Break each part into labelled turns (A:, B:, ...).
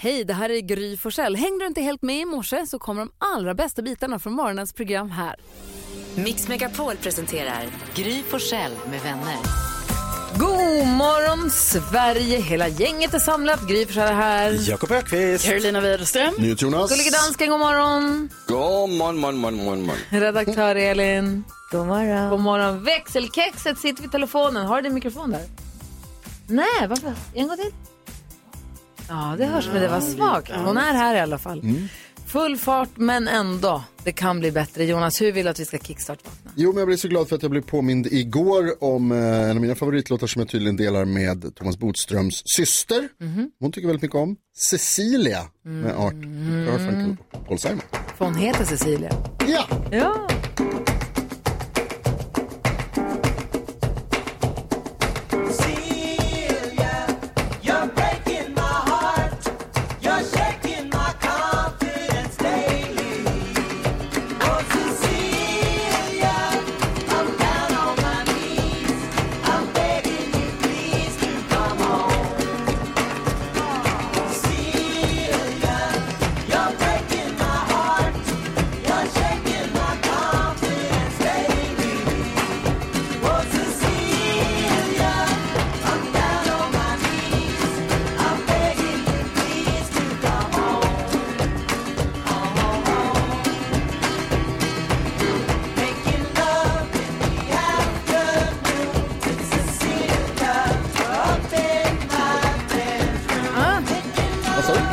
A: Hej, det här är Gry Forssell. Hängde du inte helt med i morse så kommer de allra bästa bitarna från morgonens program här.
B: Mix Megapol presenterar Gry Forssell med vänner.
A: God morgon Sverige! Hela gänget är samlat. Gry Forssell är här.
C: Jakob Ökvist.
A: Carolina Widerström.
D: Jonas.
A: Gullige dansken, god morgon.
D: God morgon, morgon, morgon, morgon, morgon.
A: Redaktör Elin. Mm. God morgon. God morgon. Växelkexet sitter vid telefonen. Har du din mikrofon där? Nej, varför? En gång till. Ja, Mm. det hörs, men det var svagt. Hon är här i alla fall. Full fart, men ändå. Det kan bli bättre. Jonas, hur vill du att vi ska kickstarta?
D: Jo, men jag blir så glad för att jag blev påmind igår om eh, en av mina favoritlåtar som jag tydligen delar med Thomas Bodströms syster.
A: Mhm.
D: Hon tycker väldigt mycket om Cecilia med Art
A: Mm.
D: Garfunkel och Paul Simon.
A: För hon heter Cecilia.
D: Ja!
A: Ja.
E: Oh,
A: Ah.
D: Vad sa du?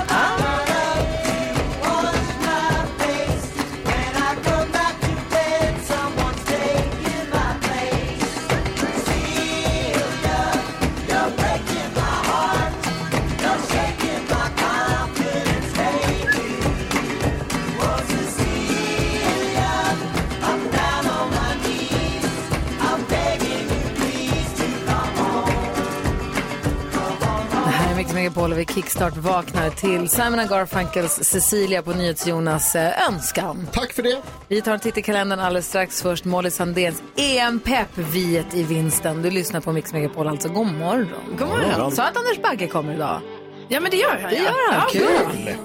A: Det här är Mix Megapol och vi kickstart vaknar till Simon Garfunkels Cecilia på NyhetsJonas eh, önskan.
D: Tack för det.
A: Vi tar en titt i kalendern alldeles strax. Först Molly Sandéns E EM-pepp, viet i vinsten. Du lyssnar på Mix Megapol alltså. God morgon. God
C: morgon.
A: Sa att Anders Bagge kommer idag?
F: Ja, men det gör han.
A: Det gör han. Kul.
G: Hej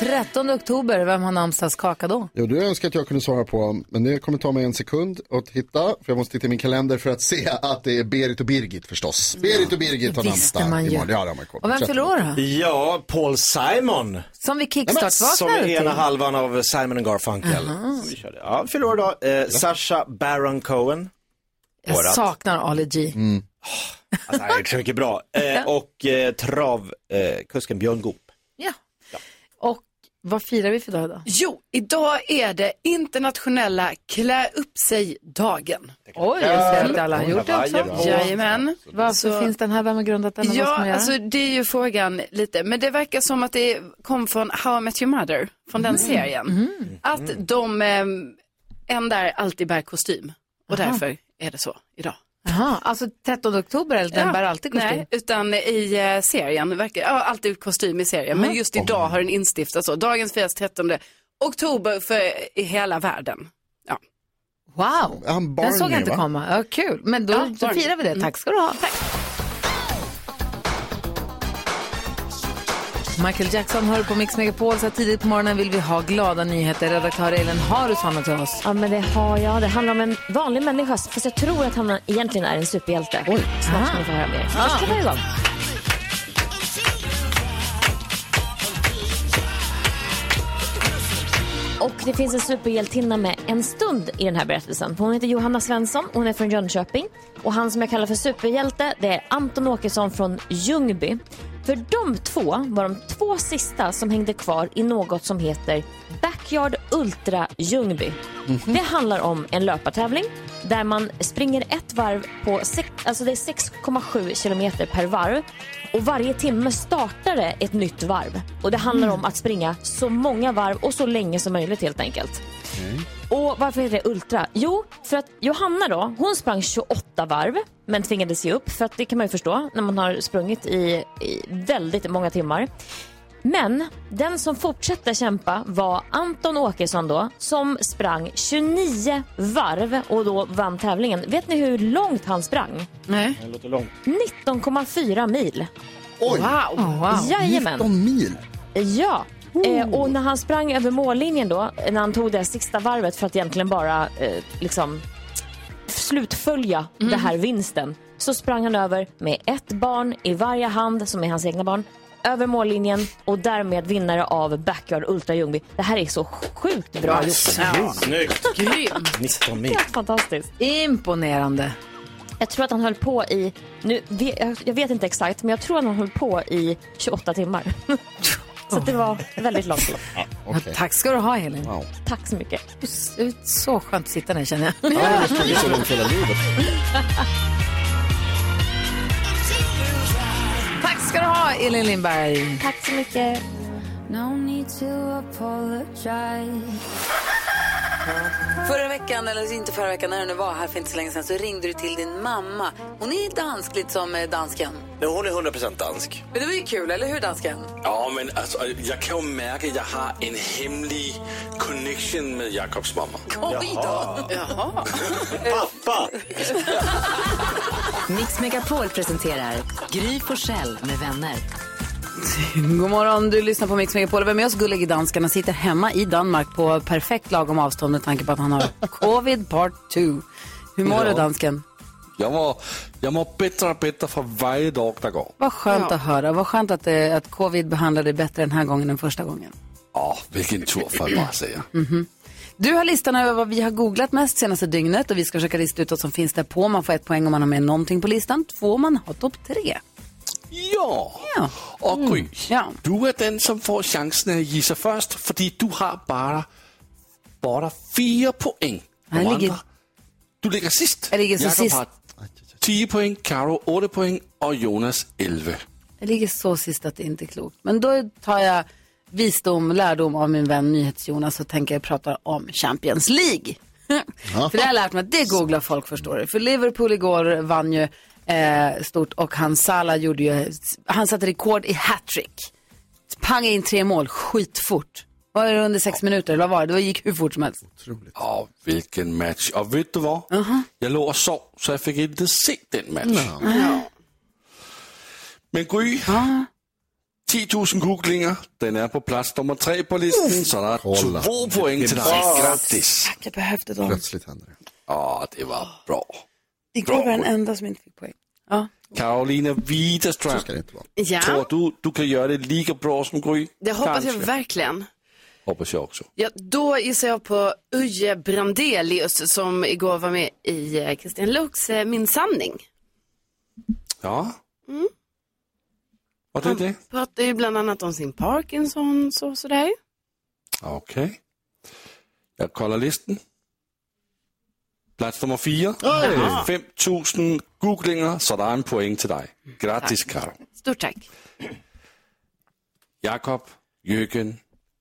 A: 13 oktober, vem har namnsdagskaka då?
D: Jo, du önskar att jag kunde svara på, men det kommer ta mig en sekund att hitta, för jag måste titta i min kalender för att se att det är Berit och Birgit förstås. Berit och Birgit har
A: Det
D: namnsdag
A: Mm. visste man ju.
D: imorgon. Ja, det har man koll på.
A: Och vem fyller år då?
C: Ja, Paul Simon.
A: Som vi
C: Som
A: kickstart-vaknade
C: är ena
A: till.
C: halvan av Simon and Garfunkel. Som vi körde. Ja, fyller år idag. Eh, Sasha Baron Cohen.
A: Jag
C: vårat.
A: saknar Ali G.
C: Alltså, han har gjort så mycket bra. Eh, och eh, travkusken eh, kusken Björn Goop.
A: Ja. Och vad firar vi för dag idag?
F: Jo, idag är det internationella klä upp sig-dagen.
A: Oj, jag ser att alla har gjort det också.
C: Hawaii, ja.
F: Jajamän.
A: Varför
F: Så-
A: finns den här? Vem har grundat den? och vad ska man
F: Ja,
A: göra?
F: alltså det är ju frågan lite, men det verkar som att det kom från How I Met Your Mother, från den
A: Mm.
F: serien.
C: Mm.
F: Att de, ehm, en där alltid bär kostym och därför är det så idag.
A: Jaha, alltså 13 oktober, eller den
F: Ja,
A: bär alltid kostym?
F: Nej, utan i eh, serien, verkar, ja, alltid kostym i serien, men just idag har den instiftats så. Dagens firas 13 oktober för i hela världen. Ja.
A: Wow,
D: Han
A: den såg
D: Barney,
A: jag inte
D: va?
A: komma. Ja, kul, men då,
F: Ja,
A: då
F: Barney.
A: firar vi det. Tack ska du ha. Michael Jackson hör på Mix Megapol. Så här tidigt på morgonen vill vi ha glada nyheter. Redaktör Elin, har du sådana till oss?
H: Ja, men det har jag. Det handlar om en vanlig människa, fast jag tror att han egentligen är en superhjälte. Snart ska ni få höra mer. Jag ska vara igång. Och det finns en superhjältinna med en stund i den här berättelsen. Hon heter Johanna Svensson, hon är från Jönköping. Och han som jag kallar för superhjälte, det är Anton Åkesson från Ljungby. För de två var de två sista som hängde kvar i något som heter Backyard Ultra Ljungby. Det handlar om en löpartävling där man springer ett varv på sex, alltså det är 6,7 kilometer per varv. Och varje timme startar det ett nytt varv. Och det handlar om att springa så många varv och så länge som möjligt helt enkelt. Och varför heter det Ultra? Jo, för att Johanna då, hon sprang 28 varv men tvingades ge upp för att det kan man ju förstå när man har sprungit i, i väldigt många timmar. Men den som fortsatte kämpa var Anton Åkesson då som sprang 29 varv och då vann tävlingen. Vet ni hur långt han sprang?
A: Nej.
C: Det låter långt.
H: 19,4 mil.
I: Oj!
A: Wow.
H: Jajamän.
I: 19 mil!
H: Ja. Eh, och när han sprang över mållinjen då, eh, när han tog det sista varvet för att egentligen bara eh, liksom slutfölja det här vinsten, så sprang han över med ett barn i varje hand, som är hans egna barn, över mållinjen och därmed vinnare av Backyard Ultra Ljungby. Det här är så sjukt bra gjort.
A: Ja.
C: Snyggt!
A: Grymt.
C: 19 mil.
H: Helt fantastiskt.
J: Imponerande.
H: Jag tror att han höll på i, nu, vi- jag- jag vet inte exakt, men jag tror att han höll på i 28 timmar. så att det var väldigt lång tid.
I: Okej.
J: Tack ska du ha, Elin.
I: Wow.
H: Tack så mycket.
J: Det är så skönt att sitta ner, känner jag.
I: Ja, det ska bli så långt hela livet.
J: Tack ska du ha, Elin Lindberg.
H: Tack så mycket.
D: Förra veckan, eller inte förra veckan, när du nu var här för inte så länge sedan så ringde du till din mamma. Hon är dansk, lite som eh, dansken.
K: Men hon är 100% dansk.
D: Men det var ju kul, eller hur dansken?
K: Ja, men alltså, jag kan ju märka att jag har en hemlig connection med Jakobs mamma.
D: Oj då!
C: Pappa!
B: Mix Megapol presenterar Gry Forssell med vänner.
J: God morgon, du lyssnar på Mix Megapol.
A: Vem är oss gullig i danskarna sitter hemma i Danmark på perfekt lagom avstånd med tanke på att han har covid part 2. Hur
K: Ja.
A: mår du dansken?
K: Jag, var, jag mår bättre och bättre för varje dag som går.
A: Vad skönt att höra. Vad skönt att, eh, att covid behandlade dig bättre den här gången än första gången.
K: Ja, vilken tur får jag bara säga.
A: Du har listan över vad vi har googlat mest senaste dygnet och vi ska försöka lista ut vad som finns där på. Man får ett poäng om man har med någonting på listan, två om man har topp tre.
K: Ja,
A: Ja.
K: och Gry,
A: Ja.
K: du är den som får chansen att gissa först för du har bara, bara fyra poäng. De
A: Jag ligger-
K: andra- Du ligger sist.
A: Jag ligger så
K: Jakob
A: sist.
K: har 10 poäng, Karo 8 poäng och Jonas 11.
A: Jag ligger så sist att det inte är klokt. Men då tar jag visdom, lärdom av min vän NyhetsJonas och tänker jag prata om Champions League. för det har jag lärt mig att det googlar folk förstår det. För Liverpool igår vann ju eh, stort och han Salah gjorde ju, han satte rekord i hattrick. Pang in tre mål skitfort. Var det under sex minuter eller vad var det? Det gick hur fort som helst.
K: Ja, vilken match. Och vet du vad? Jag låg och sov, så jag fick inte se den matchen. Men Gry, 10 000 googlingar. Den är på plats nummer tre på listan, så det är
I: Kolla.
K: två poäng till dig. Grattis!
F: Jag behövde dem.
I: Plötsligt händer det.
K: Ja, det var bra.
F: Igår var den enda som inte fick poäng.
K: Karolina Widerström,
I: Ska det inte vara.
F: Ja,
K: tror du du kan göra det lika bra som Gry?
F: det hoppas jag
K: Kanske.
F: verkligen.
K: Hoppas jag också.
F: Ja, då gissar jag på Uje Brandelius som igår var med i eh, Christian Luuks eh, Min sanning.
K: Ja. Var det det?
F: Pratar ju bland annat om sin Parkinsons och sådär.
K: Okej. Jag kollar listan. Plats nummer fyra. 5000 googlingar, så det är en poäng till dig. Grattis, Karo.
F: Stort tack.
K: Jakob Jürgen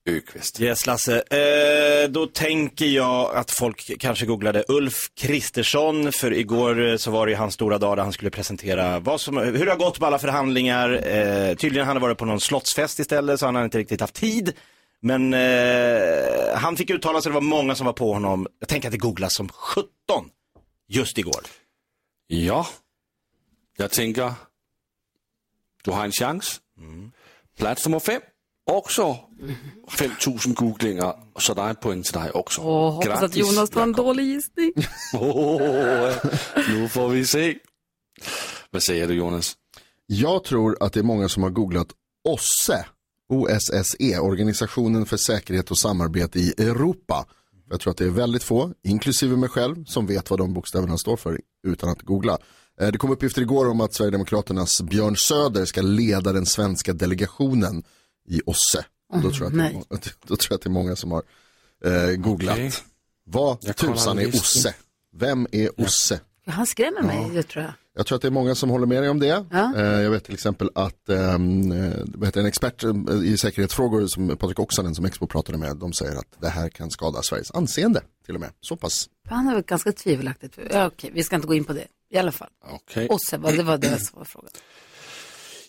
K: Öqvist.
C: Yes, Lasse. Eh, då tänker jag att folk kanske googlade Ulf Kristersson, för igår eh, så var det ju hans stora dag där han skulle presentera vad som, hur det har gått med alla förhandlingar. Eh, tydligen hade han varit på någon slottsfest istället, så han hade inte riktigt haft tid. Men eh, han fick uttala sig, det var många som var på honom. Jag tänker att det googlas som 17 just igår.
K: Ja. Jag tänker, du har en chans. Plats nummer fem. Också 5000 googlingar, så det är en poäng till dig också.
A: Och hoppas att Jonas tar en
K: Jakob.
A: dålig gissning.
K: Åh, nu får vi se. Vad säger du Jonas?
I: Jag tror att det är många som har googlat OSSE, OSSE, E, Organisationen för säkerhet och samarbete i Europa. Jag tror att det är väldigt få, inklusive mig själv, som vet vad de bokstäverna står för utan att googla. Eh, Det kom uppgifter igår om att Sverigedemokraternas Björn Söder ska leda den svenska delegationen i OSSE. Och Då tror jag att det är, må- då tror jag att det är många som har eh, googlat.
K: Okej.
I: Vad
K: Jag kollar
I: tusan är
K: listan.
I: OSSE? Vem är OSSE?
A: Han skrämmer mig, det tror jag.
I: Jag tror att det är många som håller med dig om det.
A: Ja.
I: Eh, Jag vet till exempel att ehm, eh, vad heter det, en expert eh, i säkerhetsfrågor, som Patrik Oksanen som Expo pratade med, de säger att det här kan skada Sveriges anseende till och med. Så pass.
A: Han har väl ganska tvivelaktigt. Ja, okej, vi ska inte gå in på det i alla fall.
K: Okej.
A: Osse, vad det var det som var frågan.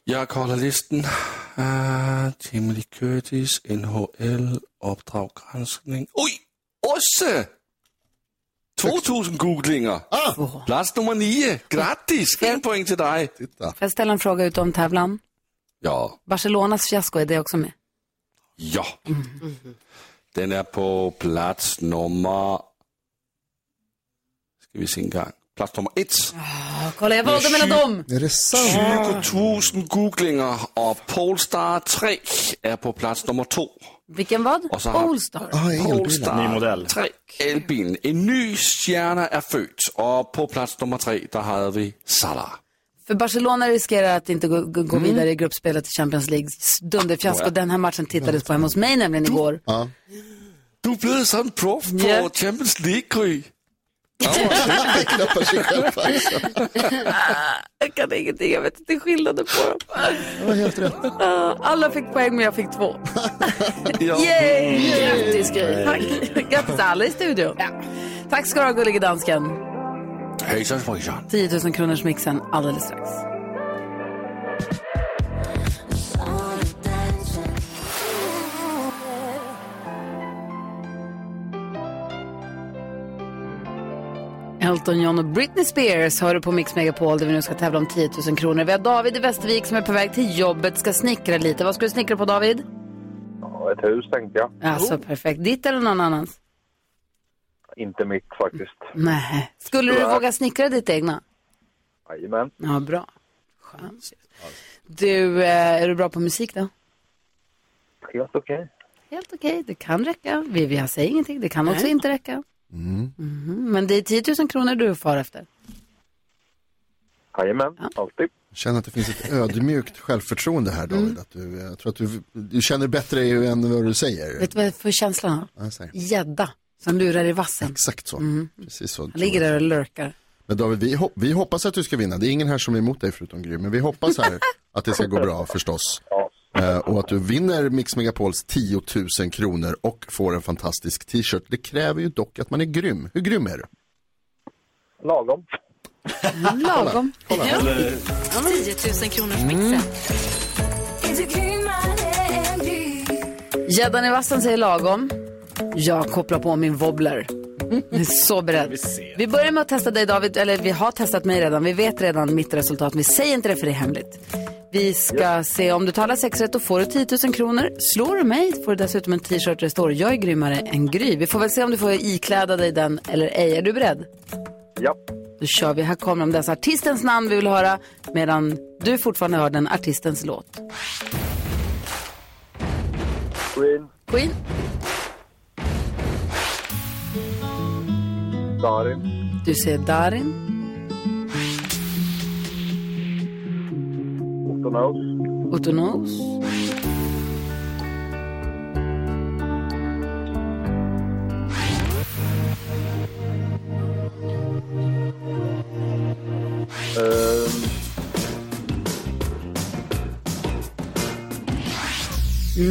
K: Jag kollar listan. har Jamie Lee Ah, Curtis, NHL, Uppdrag granskning. Oj! Osse! 2000 googlingar. Plats nummer nio. Grattis! En poäng till dig.
I: Titta.
A: Får jag ställa en fråga utom tävlan?
K: Ja,
A: Barcelonas fiasko, är det också med?
K: ja. Den är på plats nummer... Ska vi se en gång. Plats nummer ett.
D: Kolla, jag valde mellan dem.
I: Är det sant?
K: 20.000 googlingar och Polestar 3 är på plats nummer två.
A: Vilken vad?
K: Och så har-
A: Allstar.
I: Ah, elbilar.
K: Polestar
C: Ny modell.
K: 3 elbilen. En ny stjärna är född och på plats nummer tre där hade vi Salah.
A: För Barcelona riskerar att inte gå, gå gå vidare i gruppspelet i Champions League. S- Dunderfiasko. Den här matchen tittades på hemma hos mig nämligen igår.
I: Ja.
K: Du är blevet sådan proff på
A: Ja.
K: Champions League, Gry.
I: Det klappar sig själv på axeln.
A: Jag kan ingenting, jag vet inte skillnaden på dem.
I: Det var helt rätt.
A: Ah, Alla fick poäng men jag fick två.
K: Ja.
A: Yay!
L: Grattis Gry.
A: Tack. Grattis alla i studion. Tack ska du ha gullige dansken.
K: Hejsan svejsan.
A: 10 000 kronors mixen alldeles strax. Elton John och Britney Spears hör du på Mix Megapol där vi nu ska tävla om 10 000 kronor. Vi har David i Västervik som är på väg till jobbet, ska snickra lite. Vad ska du snickra på David?
M: Ja, ett hus tänkte jag.
A: Alltså perfekt. Ditt eller någon annans?
M: Inte mitt faktiskt.
A: Nej. Skulle du våga snickra ditt egna?
M: Jajamän.
A: Ja, bra. Skönt. Du, eh, är du bra på musik då?
M: Helt okej.
A: Helt okej, det kan räcka. Vi, vi säger ingenting, det kan också inte räcka. Mhm, Men det är 10 000 kronor du far efter.
M: Jajamän, alltid.
I: Jag känner att det finns ett ödmjukt självförtroende här David.
A: Mm.
I: Att du, eh, jag tror att du, du känner bättre ju än vad du säger.
A: Vet du vad jag får känslan av?
I: Ja, jag säger.
A: Gädda som lurar i vassen.
I: Exakt så. Precis så.
A: Mm. Han ligger där och lurkar.
I: Men David, vi, hop- vi hoppas att du ska vinna. Det är ingen här som är emot dig förutom Gry, men vi hoppas här att det ska gå bra förstås. Eh, och att du vinner Mix Megapols 10 000 kronor och får en fantastisk t-shirt. Det kräver ju dock att man är grym. Hur grym är du?
M: Lagom.
A: Lagom.
B: 10 000 kronors mixen.
A: Gäddan i vassen säger lagom. Jag kopplar på min wobbler. Jag är så beredd. Vi, börjar med att testa dig David, eller vi har testat mig redan. Vi vet redan mitt resultat, vi säger inte det för det är hemligt. Vi ska se om du tar alla sex rätt då får du 10 000 kronor. Slår du mig får du dessutom en t-shirt där det står jag är grymmare än Gry. Vi får väl se om du får ikläda dig den eller ej. Är du beredd?
M: Ja,
A: Då kör vi. Här kommer de dessa artistens namn vi vill höra medan du fortfarande hör den artistens låt.
M: Queen,
A: Queen,
M: Darin,
A: du ser Darin.
M: Otonos,
A: Otto Knows.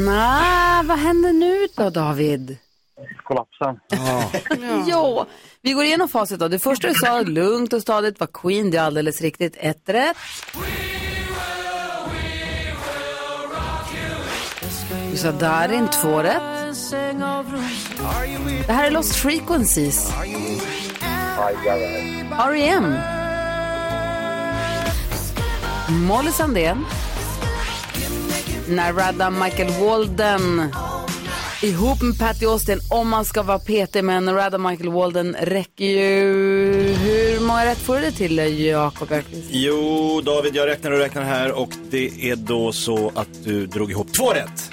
A: Nej, Ah, vad händer nu då David?
M: kollapsen.
A: Jo, vi går igenom facit då. Det första du sa, lugnt och stadigt, var Queen. Det är alldeles riktigt. Ett rätt. Du sa Darin, två rätt. Det här är Lost Frequencies, E
M: Aj, aj, aj.
A: R.E.M. Molly Sandén. Narada Michael Walden. Ihop med Patty Austin, om man ska vara petig med Narada Michael Walden, räcker ju... Hur många rätt får du det till, eh, Jakob Öqvist?
C: Jo, David, jag räknar och räknar här och det är då så att du drog ihop två rätt.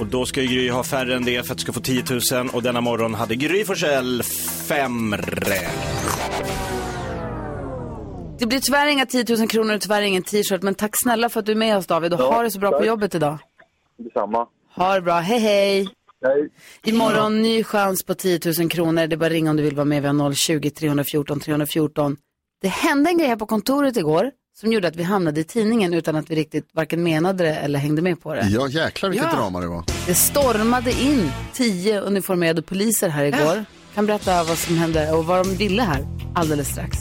C: Och då ska ju Gry ha färre än det för att du ska få 10 000 och denna morgon hade Gry Forssell fem rätt.
A: Det blir tyvärr inga 10 000 kronor och tyvärr ingen t-shirt, men tack snälla för att du är med oss David och ha det så bra på jobbet idag.
M: Detsamma.
A: Ha det bra, hej hej!
M: Hej.
A: Imorgon ny chans på 10 000 kronor. Det är bara att ringa om du vill vara med. Vi har 020 314 314. Det hände en grej här på kontoret igår som gjorde att vi hamnade i tidningen utan att vi riktigt varken menade det eller hängde med på det.
I: Ja, jäklar vilket drama det var.
A: Det stormade in 10 uniformerade poliser här igår. Kan berätta vad som hände och vad de ville här alldeles strax.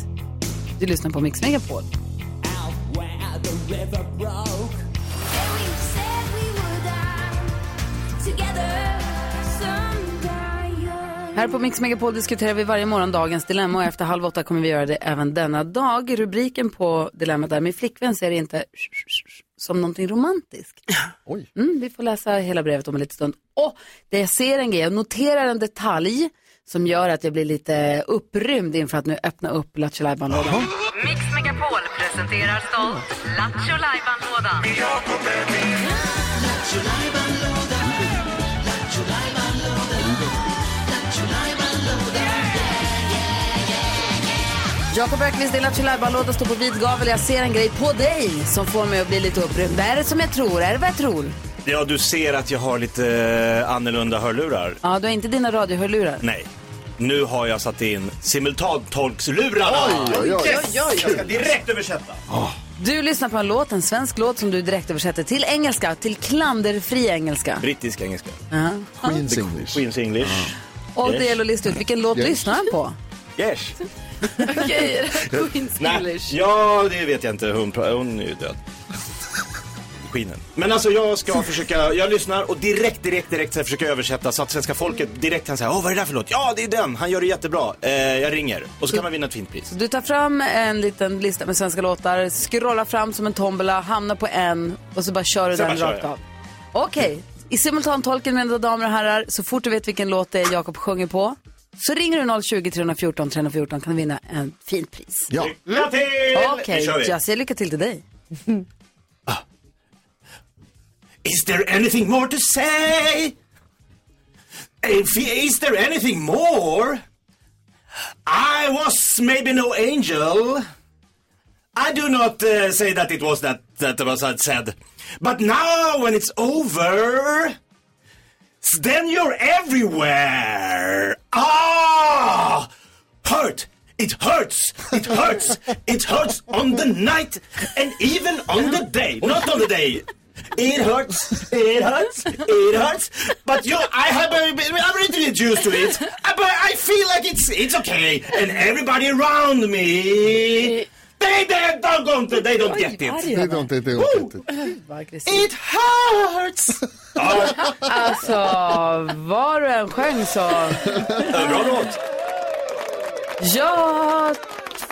A: Du lyssnar på Mix Megapol. Här på Mix Megapol diskuterar vi varje morgon dagens dilemma och efter halv åtta kommer vi göra det även denna dag. Rubriken på dilemmat är Min flickvän ser det inte som någonting romantiskt.
I: Oj.
A: Mm, vi får läsa hela brevet om en liten stund. Och det jag ser en grej, jag noterar en detalj som gör att jag blir lite upprymd inför att nu öppna upp Lattjo Lajban-lådan.
B: Mix Megapol presenterar stolt Lattjo Lajban-lådan.
A: Jakob Öqvist, din Lattjo Lajban-låda står på vid gavel. Jag ser en grej på dig som får mig att bli lite upprymd. Vad är det som jag tror? Är det vad jag tror?
C: Ja, du ser att jag har lite eh, annorlunda hörlurar.
A: Ja, du har inte dina radiohörlurar.
C: Nej. Nu har jag satt in simultantolkslurarna.
A: Oj, oj, oj.
C: Yes! Jag ska direkt översätta.
A: Du lyssnar på en låt, en svensk låt som du direkt översätter till engelska, till klanderfri engelska.
C: Brittisk engelska.
A: Ja.
I: Queens English.
C: Queens English.
A: Och
C: Yes.
A: det gäller att lista ut vilken låt
I: Yes.
A: lyssnar han på.
C: Yes.
F: Okej, Queens
C: Nej,
F: English.
C: ja, det vet jag inte. Hon, pra- hon är ju död. Skinen. Men alltså jag ska försöka, jag lyssnar och direkt, direkt, direkt så här försöker jag översätta så att svenska folket direkt kan säga, åh vad är det där för låt? Ja, det är den, han gör det jättebra. Eh, jag ringer och så kan man vinna ett fint pris.
A: Du tar fram en liten lista med svenska låtar, scrollar fram som en tombola, hamnar på en och så bara kör du
C: Sen
A: den
C: bara kör
A: rakt
C: jag.
A: av. Okej, i simultantolken mina damer och herrar, så fort du vet vilken låt det är Jakob sjunger på så ringer du 020 314 314 kan du vinna en fint pris.
I: Ja.
C: Lycka till!
A: Okej,
C: Nu kör vi.
A: jag säger lycka till till dig.
C: Is there anything more to say? If, is there anything more? I was maybe no angel. I do not uh, say that it was that that was that said. But now when it's over, s- then you're everywhere. Ah, hurt. It hurts. It hurts. it hurts on the night and even on the day. Not on the day. It hurts. It hurts. It hurts. But you, I have, a, I'm really used to it. Uh, But I feel like it's, it's okay. And everybody around me, they, they don't, they don't get it.
I: Det är inte, det är inte.
C: It hurts. Ja,
A: Alltså, var du än sjöng så...
C: bra låt.
A: Jag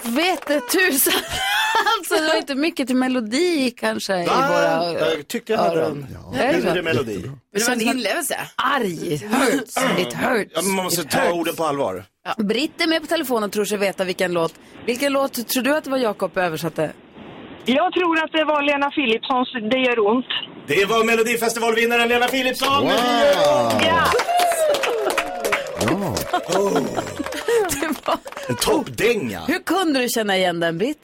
A: vet det tusan. Alltså det var inte mycket till melodi kanske i våra...
C: Jag tyckte jag hade den.
A: Är det så?
C: Mindre melodi.
F: Men det var en inlevelse.
A: Arg, it hurts, it hurts.
C: Ja, men man måste
A: it
C: ta
A: hurts.
C: orden på allvar.
A: Britt är med på telefonen och tror sig veta vilken låt. Vilken låt tror du att det var Jakob översatte?
N: Jag tror att det var Lena Philipssons Det gör ont.
C: Det var Melodifestivalvinnaren Lena Philipsson.
I: Wow. Ah!
N: Ja.
I: Ja.
A: Det var...
C: En toppdänga.
A: Hur kunde du känna igen den Britt?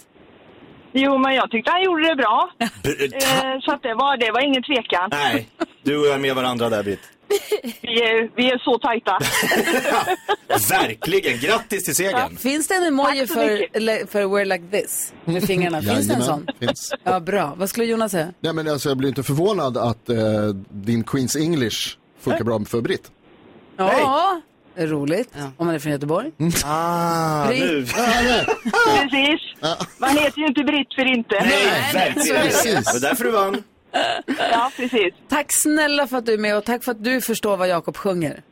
N: Jo, men jag tyckte han gjorde det bra.
C: Br- ta-
N: Eh, så att det, var, det var ingen tvekan.
C: Nej, du och jag är med varandra där Britt.
N: Vi är, vi är så tajta.
C: Verkligen, grattis till segern.
A: Finns det en emoji
N: Tack så
A: för,
N: mycket.
A: le- för We're Like This? Med fingrarna, finns det en
I: Jajamän,
A: sån?
I: Finns.
A: Ja, bra. Vad skulle Jonas säga?
I: Nej, men alltså, jag blir inte förvånad att eh, din Queens English funkar bra för Britt.
A: Ja, roligt. Om man är från Göteborg.
C: Ah,
A: Britt.
C: nu.
N: Precis. Man heter ju inte Britt för inte.
C: Nej, verkligen.
I: Precis.
C: Det var därför du vann.
N: Ja, precis.
A: Tack snälla för att du är med och tack för att du förstår vad Jakob sjunger.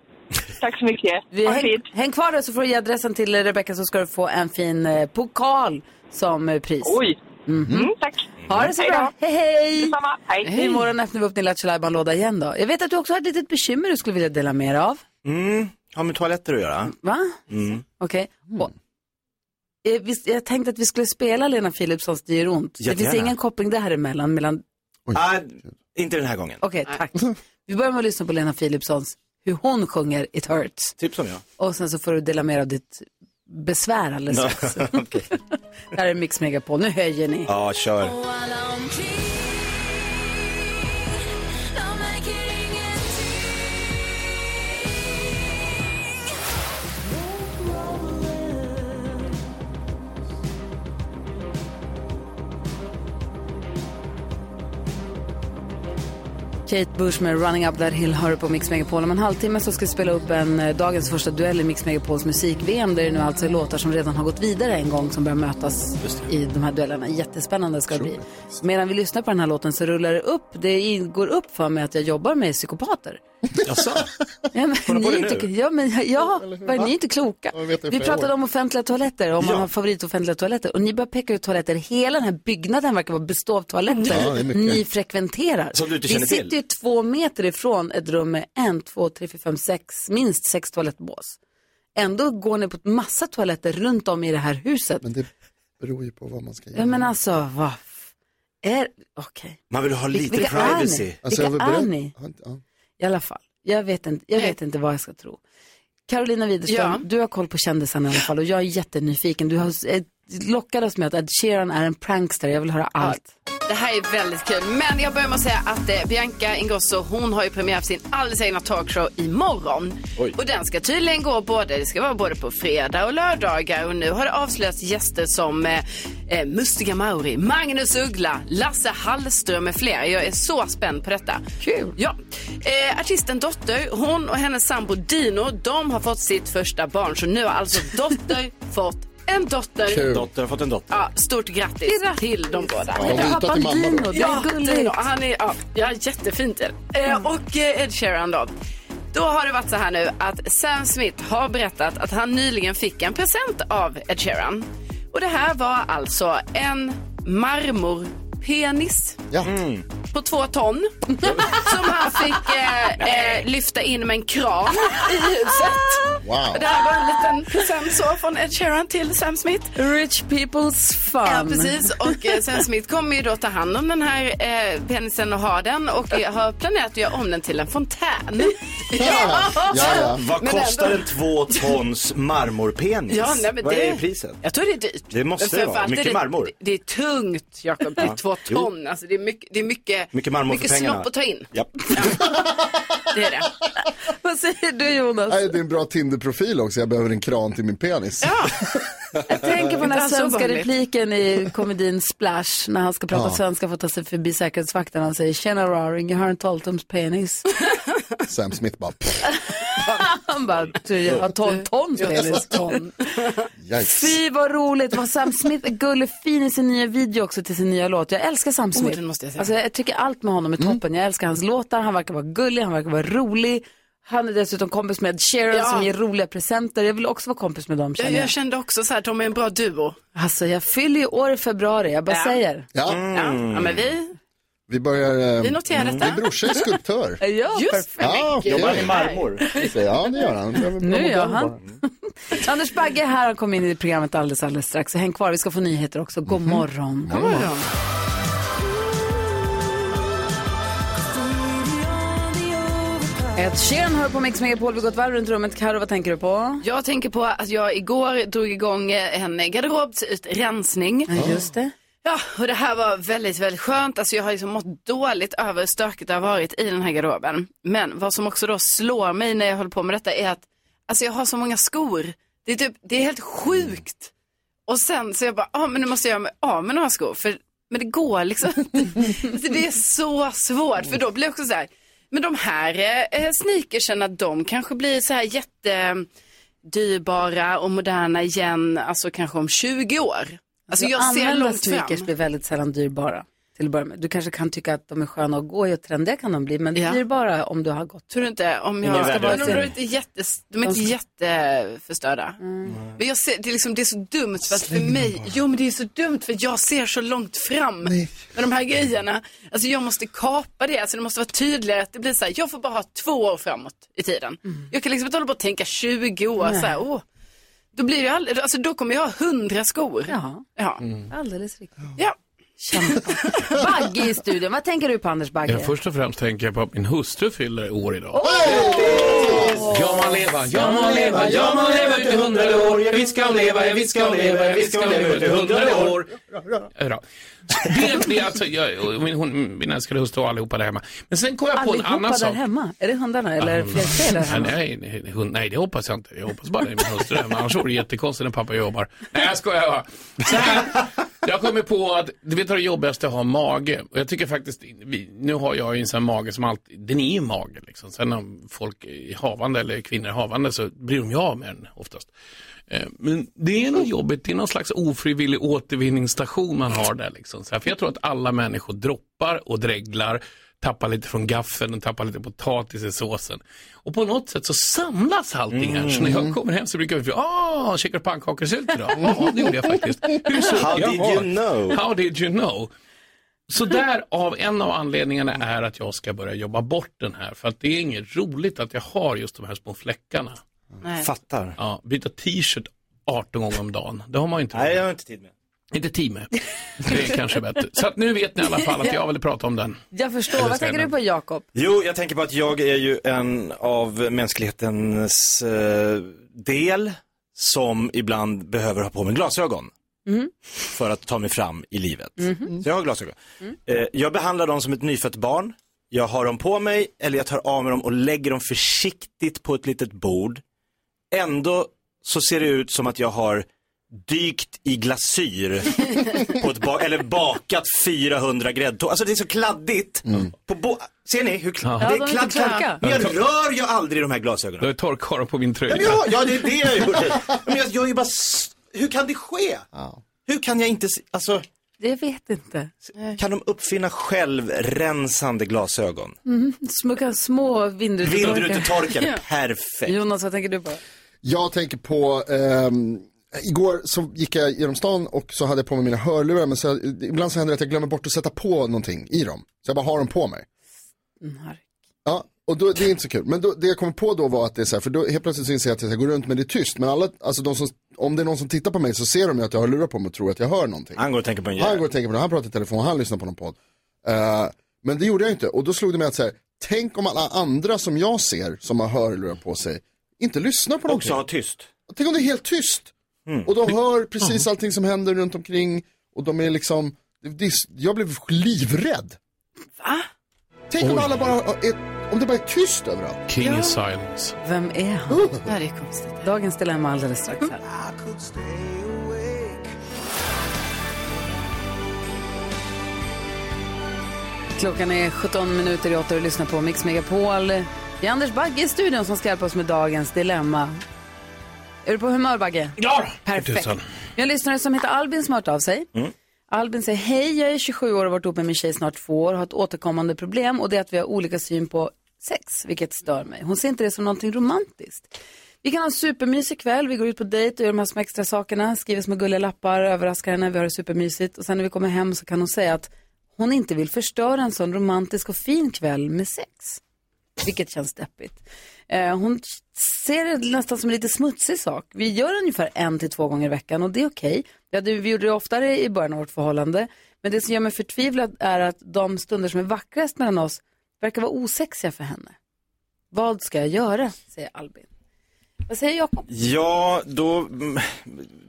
N: Tack så mycket.
A: Vi
N: Ha det
A: häng,
N: fint.
A: häng kvar där så får du ge adressen till Rebecka så ska du få en fin eh, pokal som eh, pris.
N: Oj. Mm, tack.
A: Ha det så bra. Hej hej!
N: Detsamma. Hej.
A: Imorgon öppnar vi upp din Lattjo låda igen då. Jag vet att du också har ett litet bekymmer du skulle vilja dela med dig av.
C: Mm, har med toaletter att göra.
A: Va? Okej. Och- Eh, visst, Jag tänkte att vi skulle spela Lena Philipssons Det gör ont. Det finns
C: Jättegärna.
A: ingen koppling där emellan. mellan...
C: Ah, inte den här gången.
A: Okej, tack. Vi börjar med att lyssna på Lena Philipssons, hur hon sjunger It Hurts.
C: Typ som jag.
A: Och sen så får du dela med dig av ditt besvär alldeles strax. Det här är Mix Megapol. Nu höjer ni.
C: Ja, kör.
A: Kate Bush med Running Up That Hill hör du på Mix Megapol. Om en halvtimme så ska vi spela upp en eh, dagens första duell i Mix Megapols musik-VM där det nu alltså är låtar som redan har gått vidare en gång som börjar mötas i de här duellerna. Jättespännande ska det bli. Medan vi lyssnar på den här låten så rullar det upp, det in- går upp för mig att jag jobbar med psykopater.
C: Jaså?
A: Ja, men
C: Kommer du på
A: ni är
C: det
A: inte,
C: nu?
A: ja, men, ja, var
I: Va?
A: ni är inte kloka.
I: Ja, vi vet det i
A: Vi
I: flera år.
A: pratade om offentliga toaletter, om man
I: Ja.
A: har favoritoffentliga toaletter. Och ni börjar peka ut toaletter. Hela den här byggnaden verkar vara bestå av toaletter
I: Ja, det är mycket.
A: ni frekventerar.
I: Som du inte
A: vi
I: känner till.
A: sitter ju två meter ifrån ett rum med en, två, tre, fyra, fem, sex, minst sex toalettbås. Ändå går ni på ett massa toaletter runt om i det här huset. Men
I: det beror ju på vad man ska
A: Ja, men alltså, vad f- är... Okej.
C: Man vill ha
A: Vil-
C: lite
A: vilka är
C: privacy.
A: ni?
I: Alltså,
A: Vilka är ni? I alla fall, jag vet inte, jag vet inte vad jag ska tro. Carolina Widerström,
F: Ja.
A: du har koll på kändisarna i alla fall och jag är jättenyfiken. Du har eh, lockat oss med att Ed Sheeran är en prankster, jag vill höra allt.
F: Det här är väldigt kul. Men jag börjar med att säga att eh, Bianca Ingrosso hon har ju premiär för sin alldeles egna talkshow imorgon. Och den ska tydligen gå både, det ska vara både på fredag och lördagar. Och nu har det avslöjats gäster som eh, eh, Mustiga Mauri, Magnus Uggla, Lasse Hallström med flera. Jag är så spänd på detta.
A: Kul.
F: Ja. Eh, artisten Dotter, hon och hennes sambo Dino, de har fått sitt första barn. Så nu har alltså Dotter fått en dotter.
C: Dotter har fått en dotter.
F: Ja, stort grattis till de båda.
C: Ja, Lite pappan till mamma då. Dino, det är Mm.
F: ja,
A: gulligt.
F: Dino, han är ja, ja, jättefint. är det. Eh, och eh, Ed Sheeran då. Då har det varit så här nu att Sam Smith har berättat att han nyligen fick en present av Ed Sheeran. Och det här var alltså en marmorpenis på två ton som han fick eh, eh, lyfta in med en kran i huset.
M: Wow.
F: Det här var en liten present så från Ed Sheeran till Sam Smith.
A: Rich people's fun.
F: Ja, precis. Och eh, Sam Smith kommer ju då ta hand om den här eh, penisen och ha den och eh, har planerat att göra om den till en fontän.
C: Vad
F: Men
C: kostar
F: ändå-
C: en två tons marmorpenis?
F: Ja, nej, men
C: Vad
F: det-
C: är priset?
F: Jag tror det är dyrt.
C: Det måste
F: Men
C: det vara.
F: framförallt är
C: Mycket marmor.
F: Det, det är tungt, Jakob. Det är
C: Ja.
F: två
C: Jo.
F: ton. Alltså, det är mycket, det är mycket,
C: Mycket marmor
F: mycket
C: för pengarna.
F: snopp att ta in.
C: Ja.
F: Det är det.
A: Vad säger du Jonas?
I: Nej, det är en bra Tinder-profil också. Jag behöver en kran till min penis.
A: Jag tänker på den
F: Inte
A: här
F: alls
A: svenska
F: ovanligt.
A: repliken i komedin Splash när han ska prata
I: Ja.
A: svenska för att ta sig förbi säkerhetsvakten. Han säger “Tjena raring, jag har en 12-tums penis”.
I: Sam Smith bara, pff,
A: han bara “Du, jag har 12 tons penis”. Ton.
I: yikes.
A: Fy vad roligt, vad Sam Smith är gullig fin i sin nya video också till sin nya låt. Jag älskar Sam Smith.
F: den måste jag säga. Mm.
A: Alltså, jag tycker allt med honom är toppen. Jag älskar hans låtar, han verkar vara gullig, han verkar vara rolig. Han är dessutom kompis med Ed Sheeran
F: Ja.
A: som ger roliga presenter. Jag vill också vara kompis med dem
F: Jag,
A: känner jag.
F: jag kände också så här, de är en bra duo.
A: Alltså jag fyller ju år i februari, jag bara
F: Ja.
A: säger.
I: Ja.
C: Mm.
F: Ja, men vi,
I: Vi börjar... eh,
F: vi noterar detta.
I: Min brorsa är skulptör.
A: Ja, perfekt.
I: Ja, okej.
C: Jobbar han i marmor?
I: Ja, det gör han.
A: Nu gör
I: gör
A: han. Anders Bagge är här, han kommer in i programmet alldeles, alldeles strax. Så häng kvar, vi ska få nyheter också. God morgon. Mhm. God morgon. Ett Sheeran hör på Mix Megapol, vi har gått varv runt rummet. Karo, vad tänker du på?
F: Jag tänker på att jag igår drog igång eh, en garderobsutrensning.
A: Ja, Just det.
F: Ja, och det här var väldigt, väldigt skönt. Alltså jag har liksom mått dåligt över hur stökigt det har varit i den här garderoben. Men vad som också då slår mig när jag håller på med detta är att alltså jag har så många skor. Det är, typ, det är helt sjukt. Och sen så jag bara, ah, men nu måste jag göra mig av med några skor. För, men det går liksom inte. alltså, Det är så svårt. För då blir jag också så här, men de här eh, sneakersen, att de kanske blir så här jätte dyrbara och moderna igen, alltså kanske om 20 år. Alltså jag ser
A: Använda
F: långt fram.
A: sneakers blir väldigt sällan dyrbara. Till att börja med. Du kanske kan tycka att de är sköna att gå i och trendiga kan de bli, men
F: Ja.
A: dyrbara om du har gått.
F: Tror du inte om
A: Ingen
F: jag...
A: värdelös.
F: Men de, är inte jätte, de är inte
A: De Mm.
F: jätteförstörda. Men jag ser, det, är liksom, det är så dumt för att för mig, jo men det är så dumt för jag ser så långt fram med de här grejerna. Alltså jag måste kapa det, alltså det måste vara tydligare att det blir så här, jag får bara ha två år framåt i tiden.
A: Mm.
F: Jag kan liksom inte hålla på och tänka 20 år så här, åh. Då blir det aldrig, alltså då kommer jag ha hundra skor.
A: Ja,
F: Ja.
A: Mm. alldeles riktigt.
F: ja.
A: Bagge i studion, vad tänker du på Anders Bagge?
O: Ja, först och främst tänker jag på att min hustru fyller år idag. Ja, man leva, ja, man leva, ja, man leva ut i hundrade år. Ja, visst ska hon leva, ja, visst ska hon leva, ja, visst ska hon leva ut i hundrade år. Bra. Det, det är alltså, jag, och min, hon, min älskade hustru och allihopa där hemma. Men sen kom jag på en
A: Allihopa
O: annan
A: där
O: sak.
A: hemma? Är det hundarna eller
O: Mm.
A: fler fler där hemma?
O: Nej, nej, nej, hund, nej, det hoppas jag inte. Jag hoppas bara det är min hustru hemma. Annars vore det jättekonstigt när pappa jobbar. Nej, jag skojar bara. Så här, jag kommer på att, du vet vad det jobbigaste är att ha mage. Och jag tycker faktiskt, vi, nu har jag ju en sån här mage som alltid, den är ju mage liksom. Sen om folk är havande eller kvinnor är havande så blir de ju av med den oftast. Eh, Men det är nog jobbigt, det är någon slags ofrivillig återvinningsstation man har där. Liksom. Så här, för jag tror att alla människor droppar och dreglar tappar lite från gaffeln och tappar lite potatis i såsen. Och på något sätt så samlas allting här. Så när
C: Mm.
O: jag kommer hem så brukar vi fråga, ah, käkar du pannkakssylt idag? Ja, det gjorde jag faktiskt. Hur såg
C: How
O: jag
C: did
O: var?"
C: you know?
O: How did you know? Så därav, en av anledningarna är att jag ska börja jobba bort den här. För att det är inget roligt att jag har just de här små fläckarna.
L: Nej.
C: Fattar.
O: Ja, byta t-shirt 18 gånger om dagen. Det har man ju inte.
C: Nej, jag har inte tid med.
O: Inte tid med. Det är kanske bättre. Så att nu vet ni i alla fall att jag ville prata om den.
A: Jag förstår.
O: Eller
A: Vad tänker
O: stenen.
A: du på, Jakob?
C: Jo, jag tänker på att jag är ju en av mänsklighetens eh, del som ibland behöver ha på mig glasögon
M: Mm.
C: för att ta mig fram i livet.
M: Mhm.
C: Så jag har glasögon.
M: Mm.
C: Eh, jag behandlar dem som ett nyfött barn. Jag har dem på mig eller jag tar av mig dem och lägger dem försiktigt på ett litet bord. Ändå så ser det ut som att jag har dykt i glasyr på ett ba- eller bakat 400 gräddtårtor. Alltså det är så kladdigt. På bo- Ser ni hur
O: Ja, de
C: kladdigt? det
O: är
C: är
O: inte
C: kladd,
O: kloka.
C: kladd. Men jag rör ju aldrig de här glasögonen.
O: Du har torkat på min tröja.
C: Ja, men ja, ja, det är det jag gjorde. Men jag, jag är ju bara, s- hur kan det ske? Hur kan jag inte, se- alltså,
A: Jag vet inte.
C: kan de uppfinna självrensande glasögon?
A: Mm, smucka små vindrutetorkare.
C: Vindrutetorkare, perfekt.
A: Jonas, vad tänker du på?
I: Jag tänker på, ehm, igår så gick jag genom stan och så hade jag på mig mina hörlurar men så, ibland så händer det att jag glömmer bort att sätta på någonting i dem. Så jag bara har dem på mig. Ja, och då, det är inte så kul. Men då, det jag kom på då var att det är så här, för då helt plötsligt så inser jag att jag går runt men det är tyst. Men alla, alltså de som, om det är någon som tittar på mig så ser de ju att jag har lurar på mig och tror att jag hör någonting.
C: Han går och tänker på en
I: Han går och tänker på det, han pratar i telefon, han lyssnar på någon podd. Eh, men det gjorde jag inte och då slog det mig att så här, tänk om alla andra som jag ser som har hörlurar på sig inte lyssnar på någonting.
C: Också ha tyst.
I: Tänk om det är helt tyst. Och de hör precis allting som händer runt omkring och de är liksom, det- det, är- jag blev livrädd. Va? Tänk om
O: Oj.
I: alla bara, är, om det bara är tyst överallt.
O: King in silence.
A: Vem är han?
I: Det
A: Oh, här är konstigt. Dagens dilemma alldeles strax här. Klockan är 17 minuter i åtta och du lyssnar på Mix Megapol. Det är Anders Bagge i studion som ska hjälpa oss med dagens dilemma. Är du på humör, Bagge?
O: Ja!
A: Perfekt.
O: Tusen.
A: Vi har en lyssnare som heter Albin som har hört av sig. Albin säger, hej jag är 27 år och har varit ihop med min tjej i snart två år och har ett återkommande problem och det är att vi har olika syn på sex, vilket stör mig. Hon ser inte det som någonting romantiskt. Vi kan ha en supermysig kväll, vi går ut på dejt och gör de här små extra sakerna, skriver små gulliga lappar, överraskar henne, vi har det supermysigt och sen när vi kommer hem så kan hon säga att hon inte vill förstöra en sån romantisk och fin kväll med sex. Vilket känns deppigt. Eh, hon ser det nästan som en lite smutsig sak. Vi gör ungefär en till två gånger i veckan och det är okej. Vi, hade, vi gjorde det oftare i början av vårt förhållande. Men det som gör mig förtvivlad är att de stunder som är vackrast mellan oss verkar vara osexiga för henne. Vad ska jag göra? säger Albin. Vad säger Jakob?
C: Ja, då, mm,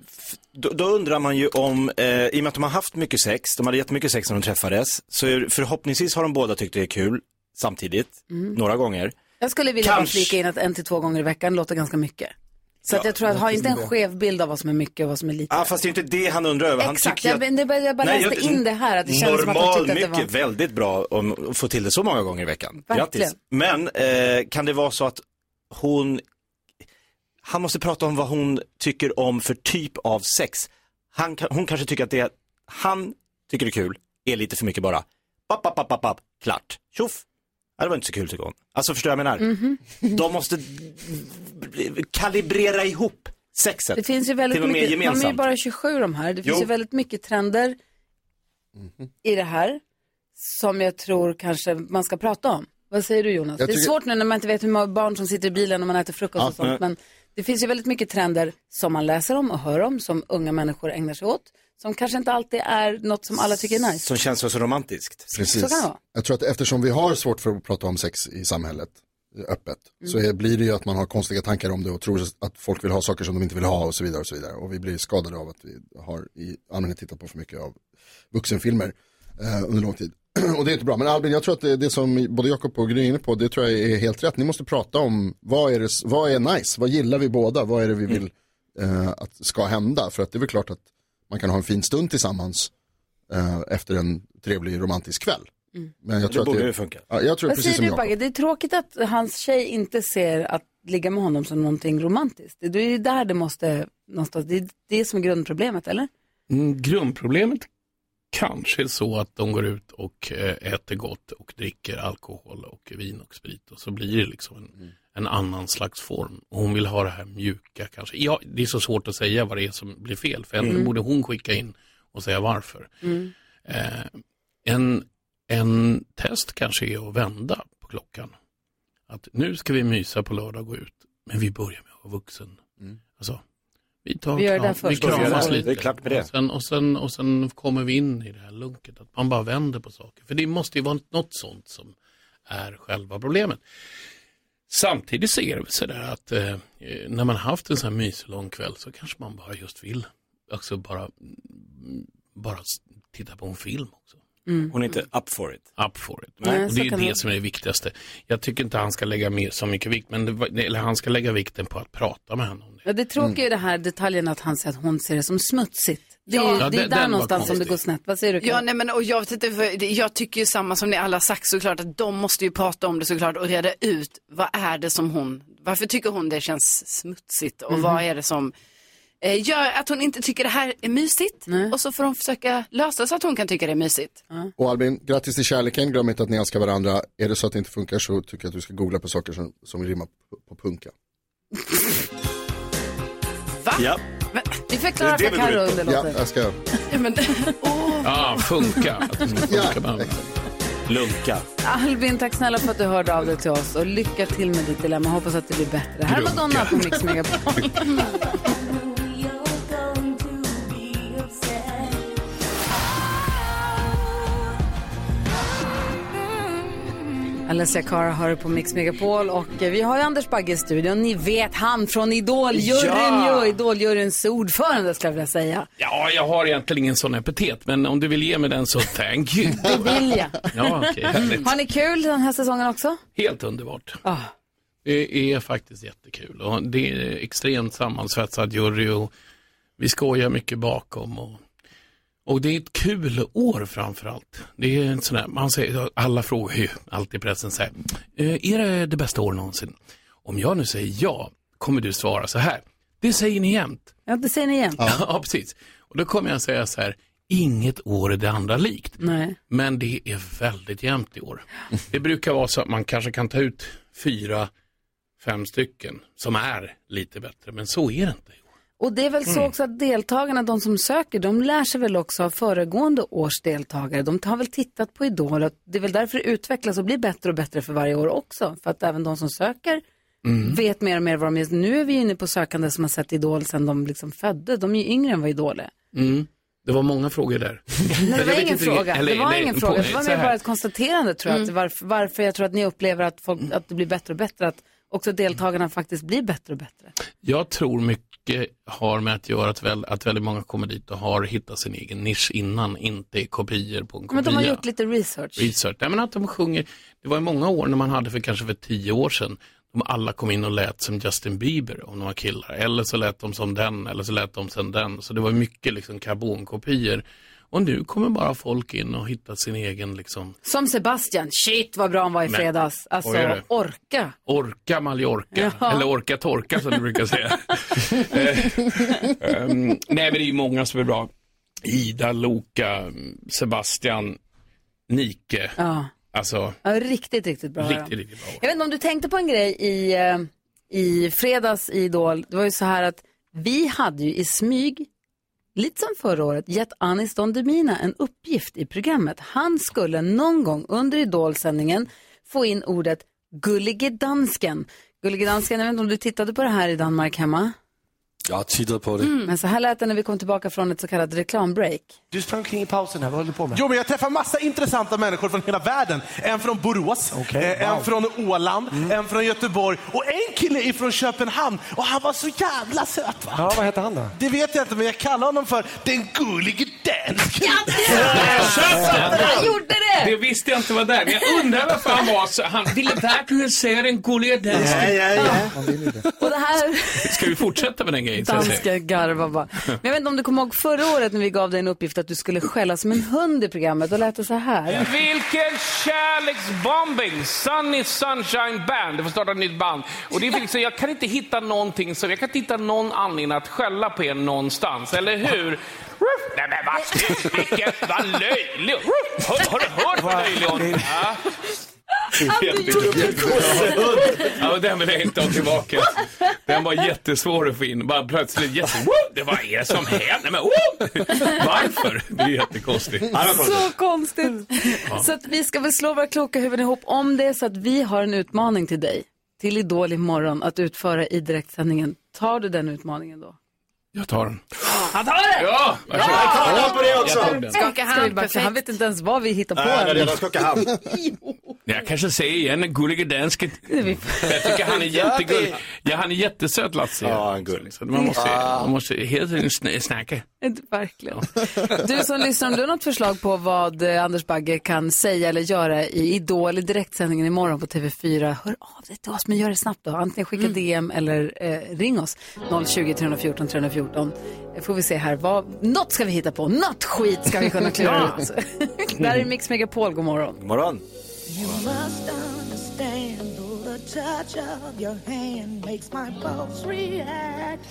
C: f- då, då undrar man ju om, eh, i och med att de har haft mycket sex, de hade jättemycket sex när de träffades, så är- förhoppningsvis har de båda tyckt det är kul samtidigt,
A: Mm.
C: några gånger.
A: Jag skulle vilja bara
C: Kanske.
A: flika in att en till två gånger i veckan låter ganska mycket. Så att jag tror att ha inte en skev bild av vad som är mycket och vad som är lite.
C: Ja, fast det är inte det han undrar över. han
A: Exakt,
C: tycker
A: jag,
C: ju att...
A: det bara- jag bara
C: Nej,
A: läste
C: jag-
A: in det här att det kändes som att de
C: Normal
A: tyckte att det
C: mycket,
A: var...
C: väldigt bra om att få till det så många gånger i veckan.
A: Verkligen.
C: Grattis. Men eh, kan det vara så att hon, han måste prata om vad hon tycker om för typ av sex. Han, kan- hon kanske tycker att det han tycker är kul är lite för mycket bara. Papp, papp, papp, papp, papp. klart, tjoff. Ja, det var inte så kul tycker hon. Alltså förstår jag vad jag menar?
A: Mhm.
C: De måste kalibrera ihop sexet.
A: Det finns ju väldigt
C: till och med
A: mycket,
C: gemensamt.
A: de är ju bara 27 de här. Det finns
C: Jo. Mhm.
A: ju väldigt mycket trender i det här som jag tror kanske man ska prata om. Vad säger du Jonas?
I: Jag
A: Det är
I: tycker-
A: svårt nu när man inte vet hur många barn som sitter i bilen och man äter frukost
I: Ja,
A: och sånt.
I: nej.
A: Men det finns ju väldigt mycket trender som man läser om och hör om, som unga människor ägnar sig åt. Som kanske inte alltid är något som alla tycker är nice.
C: Som känns så så romantiskt.
I: Precis.
A: Så kan det vara.
I: Jag tror att eftersom vi har svårt för att prata om sex i samhället eh, öppet
A: Mm.
I: så är, blir det ju att man har konstiga tankar om det och tror att folk vill ha saker som de inte vill ha och så vidare och så vidare. Och vi blir skadade av att vi har i allmänhet tittat på för mycket av vuxenfilmer eh, under lång tid. och det är inte bra. Men Albin, jag tror att det, det som både Jakob och Gry är inne på, det tror jag är helt rätt. Ni måste prata om vad är, det, vad är nice, vad gillar vi båda, vad är det
A: Mm.
I: vi vill eh, att ska hända? För att det är väl klart att man kan ha en fin stund tillsammans eh, efter en trevlig romantisk kväll. Men jag
C: Det
I: tror
C: borde
I: att det
C: ju funka.
I: Ja, jag tror
A: Mm. Vad
I: precis
A: säger
I: som
A: du
I: jag.
A: Bagge? Det är tråkigt att hans tjej inte ser att ligga med honom som någonting romantiskt. Det det är ju där det måste någonstans, det är det som är grundproblemet eller?
O: Mm, Grundproblemet kanske är så att de går ut och eh, äter gott och dricker alkohol och vin och sprit och så blir det liksom en, en annan slags form. Och hon vill ha det här mjuka kanske. Ja, det är så svårt att säga vad det är som blir fel för egentligen
E: Mm.
O: borde hon skicka in och säga varför. Eh, en, en test kanske är att vända på klockan. Att nu ska vi mysa på lördag och gå ut, men vi börjar med att vara vuxen. Alltså, vi, tar
A: Vi gör det
O: kram,
A: där först.
O: vi
A: Börjar
O: kramas
A: där.
O: lite.
A: Mm. Det är klart med det.
O: Och sen, och, sen, och sen kommer vi in i det här lunket, att man bara vänder på saker. För det måste ju vara något sånt som är själva problemet. Samtidigt så är det väl sådär att eh, när man haft en sån här mysig lång kväll så kanske man bara just vill, alltså bara, bara s- titta på en film också.
C: Mm. Hon är inte up for it.
O: Up for it.
C: Nej,
O: och
C: så
O: det är ju
C: kan
O: det
C: det-
O: som är det viktigaste. Jag tycker inte han ska lägga mer, så mycket vikt, men det, var- eller han ska lägga vikten på att prata med henne. om det.
A: Ja, det tråkiga är ju det här detaljen att han säger att hon ser det som smutsigt. Det är,
O: Ja,
A: det
O: den-
A: är
O: den
A: där
O: var
A: någonstans som det
O: konstig.
A: går snett. Vad säger du?
F: Ja, nej, men, och jag, vet inte, för det- jag tycker ju samma som ni alla sagt såklart att de måste ju prata om det såklart och reda ut vad är det som hon, varför tycker hon det känns smutsigt och
L: Mhm.
F: vad är det som eh, gör att hon inte tycker det här är mysigt och så får de försöka lösa så att hon kan tycka det är mysigt.
I: Och Albin, grattis till kärleken. Glöm inte att ni älskar varandra. Är det så att det inte funkar så tycker jag att du ska googla på saker som, som rimmar på, på punka.
F: Va?
C: Ja.
A: Vi förklarar för Carro under
I: Ja,
A: låten.
I: jag ska.
O: Ja, funka. Att det ska funka med andra.
C: Lunka.
A: Albin, tack snälla för att du hörde av dig till oss och lycka till med ditt dilemma. Hoppas att det blir bättre. Här är
D: Grunka.
A: Madonna på Mix Megapol. Alessia Cara hör på Mix Megapol och eh, vi har ju Anders Bagge i studion. Ni vet han från Idol-juryn
O: Ja!
A: ju, Idol-juryns ordförande skulle jag vilja säga.
O: Ja, jag har egentligen ingen sån epitet, men om du vill ge mig den så thank you.
A: Det vill jag.
O: Ja, okej, härligt.
A: Har ni kul den här säsongen också?
O: Helt underbart.
A: Ah.
O: Det är faktiskt jättekul och det är extremt sammansvetsad jury och vi skojar mycket bakom. Och, och det är ett kul år framförallt. Det är en sån där, man säger, alla frågar ju alltid i pressen så här, "Eh, är det det bästa år någonsin? Om jag nu säger ja, kommer du svara så här, det säger ni jämt.
A: Ja, det säger ni igen.
O: Ja, precis. Och då kommer jag säga så här, inget år är det andra likt.
A: Nej.
O: Men det är väldigt jämnt i år. Det brukar vara så att man kanske kan ta ut fyra, fem stycken som är lite bättre, men så är det inte.
A: Och det är väl så
O: Mm.
A: också att deltagarna, de som söker, de lär sig väl också av föregående års deltagare. De har väl tittat på Idol och det är väl därför det utvecklas och blir bättre och bättre för varje år också. För att även de som söker
O: Mm.
A: vet mer och mer vad de är. Nu är vi inne på sökande som har sett Idol sedan de liksom föddes. De är ju yngre än vad Idol är.
O: Mm. Det var många frågor där.
A: Nej, det
O: Jag
A: var
O: vet
A: ingen
O: inte
A: fråga.
O: riktigt- eller-
A: det var
O: nej,
A: ingen
O: på-
A: fråga. Det var
O: så
A: mer
O: här.
A: bara ett konstaterande tror jag.
O: Mm.
A: Att varför, varför jag tror att ni upplever att, folk, att det blir bättre och bättre. Att också deltagarna faktiskt blir bättre och bättre.
O: Jag tror mycket har med att göra att, väl, att väldigt många kommer dit och har hittat sin egen nisch innan, inte är kopior på en kopia.
A: Men de har gjort lite research.
O: Research. Nej, men att de sjunger, det var ju många år när man hade för kanske för tio år sedan, de alla kom in och lät som Justin Bieber om de var killar. Eller så lät de som den, eller så lät de som den. Så det var mycket liksom karbonkopior. Och nu kommer bara folk in och hittar sin egen liksom
A: Som Sebastian, shit vad bra han var i
O: Men-
A: fredags. Alltså,
O: Oj, oj,
A: orka.
O: Orka Mallorca,
A: Ja.
O: eller orka torka som du brukar säga. Eh, ehm, nej men det är ju många som är bra. Ida, Loka, Sebastian, Nike.
A: Ja.
O: Alltså,
A: Ja, riktigt, riktigt bra.
O: riktigt,
A: ja.
O: riktigt bra.
A: Jag vet inte om du tänkte på en grej i, eh, i fredags i Idol. Det var ju så här att vi hade ju i smyg, lite som förra året, gett Anis Don Demina en uppgift i programmet. Han skulle någon gång under Idol-sändningen få in ordet gullige dansken. Gullige dansken, jag vet inte om du tittade på det här i Danmark hemma?
K: Jag har tittat på det.
P: Mm.
O: Mm.
A: Men så här lät det när vi kom tillbaka från ett så kallat reklambreak.
P: Du sprang omkring i pausen här, vad håller du på med? Jo, men jag träffar massa intressanta människor från hela världen. En från Borås, eh, en från Åland, en från Göteborg och en kille ifrån Köpenhamn. Och han var så jävla söt va? Ja, vad hette han då? Det vet jag inte, men jag kallar honom för den gullige dansken.
O: Han gjorde det! Det visste jag inte var där, men jag undrar varför han var så. Han ville verkligen säga den gulliga dansken.
A: Ja, ja, ja. Och det här...
O: Ska vi fortsätta med den grejen? så att säga?
A: Danska garva bara. Men jag vet inte om du kommer ihåg förra året när vi gav dig en uppgift att du skulle skälla som en hund i programmet. Då lät det så här.
Q: Vilken kärleksbombing! Sunny Sunshine Band. Det får starta ett nytt band. Och det är liksom, jag kan inte hitta någonting, så jag kan inte hitta någon anledning att skälla på er någonstans, eller hur? Nej men vad vilken, vad löjlig. Har, har du hört vad löjlig hon är? Ja. Ja, och den vill jag inte ha tillbaka. Den var jättesvår att få in. Bara plötsligt jätte... Det vad är det som händer? Nej, men, oh! Varför? Det är jättekonstigt. Ja, det var konstigt.
A: Så konstigt.
Q: Ja.
A: Så att vi ska väl slå våra kloka huvuden ihop om det så att vi har en utmaning till dig. Till Idol imorgon att utföra i direktsändningen. Tar du den utmaningen då?
O: Jag tar den.
A: Han tar det!
O: Ja! varsågod. Jag tar hand på det också.
A: Jag tar den.
O: Skaka
A: Ska vi
O: hand,
A: bara-
O: perfekt.
A: Han vet inte ens vad vi hittar på.
O: Nej,
A: än.
O: det är redan skaka hand. Jag kanske säger igen, den gullige dansken. Jag tycker han är jättegullig. Ja, han är jättesöt Lasse. Ja, han är gullig. Ah. Så man måste, man måste hela tiden sn- snacka.
A: Inte Verkligen. Du som lyssnar, om du har något förslag på vad eh, Anders Bagge kan säga eller göra i Idol i direktsändningen imorgon på TV4, hör av dig till oss, men gör det snabbt då. Antingen
O: Mm.
A: skicka DM eller eh, ring oss. 020 314 314. Eh, Får vi se här, vad, något ska vi hitta på, något skit ska vi kunna klura
C: Ja.
A: ut. Där är Mix Megapol, god morgon.
C: God morgon.
E: You must understand, though the touch of your hand makes my pulse react.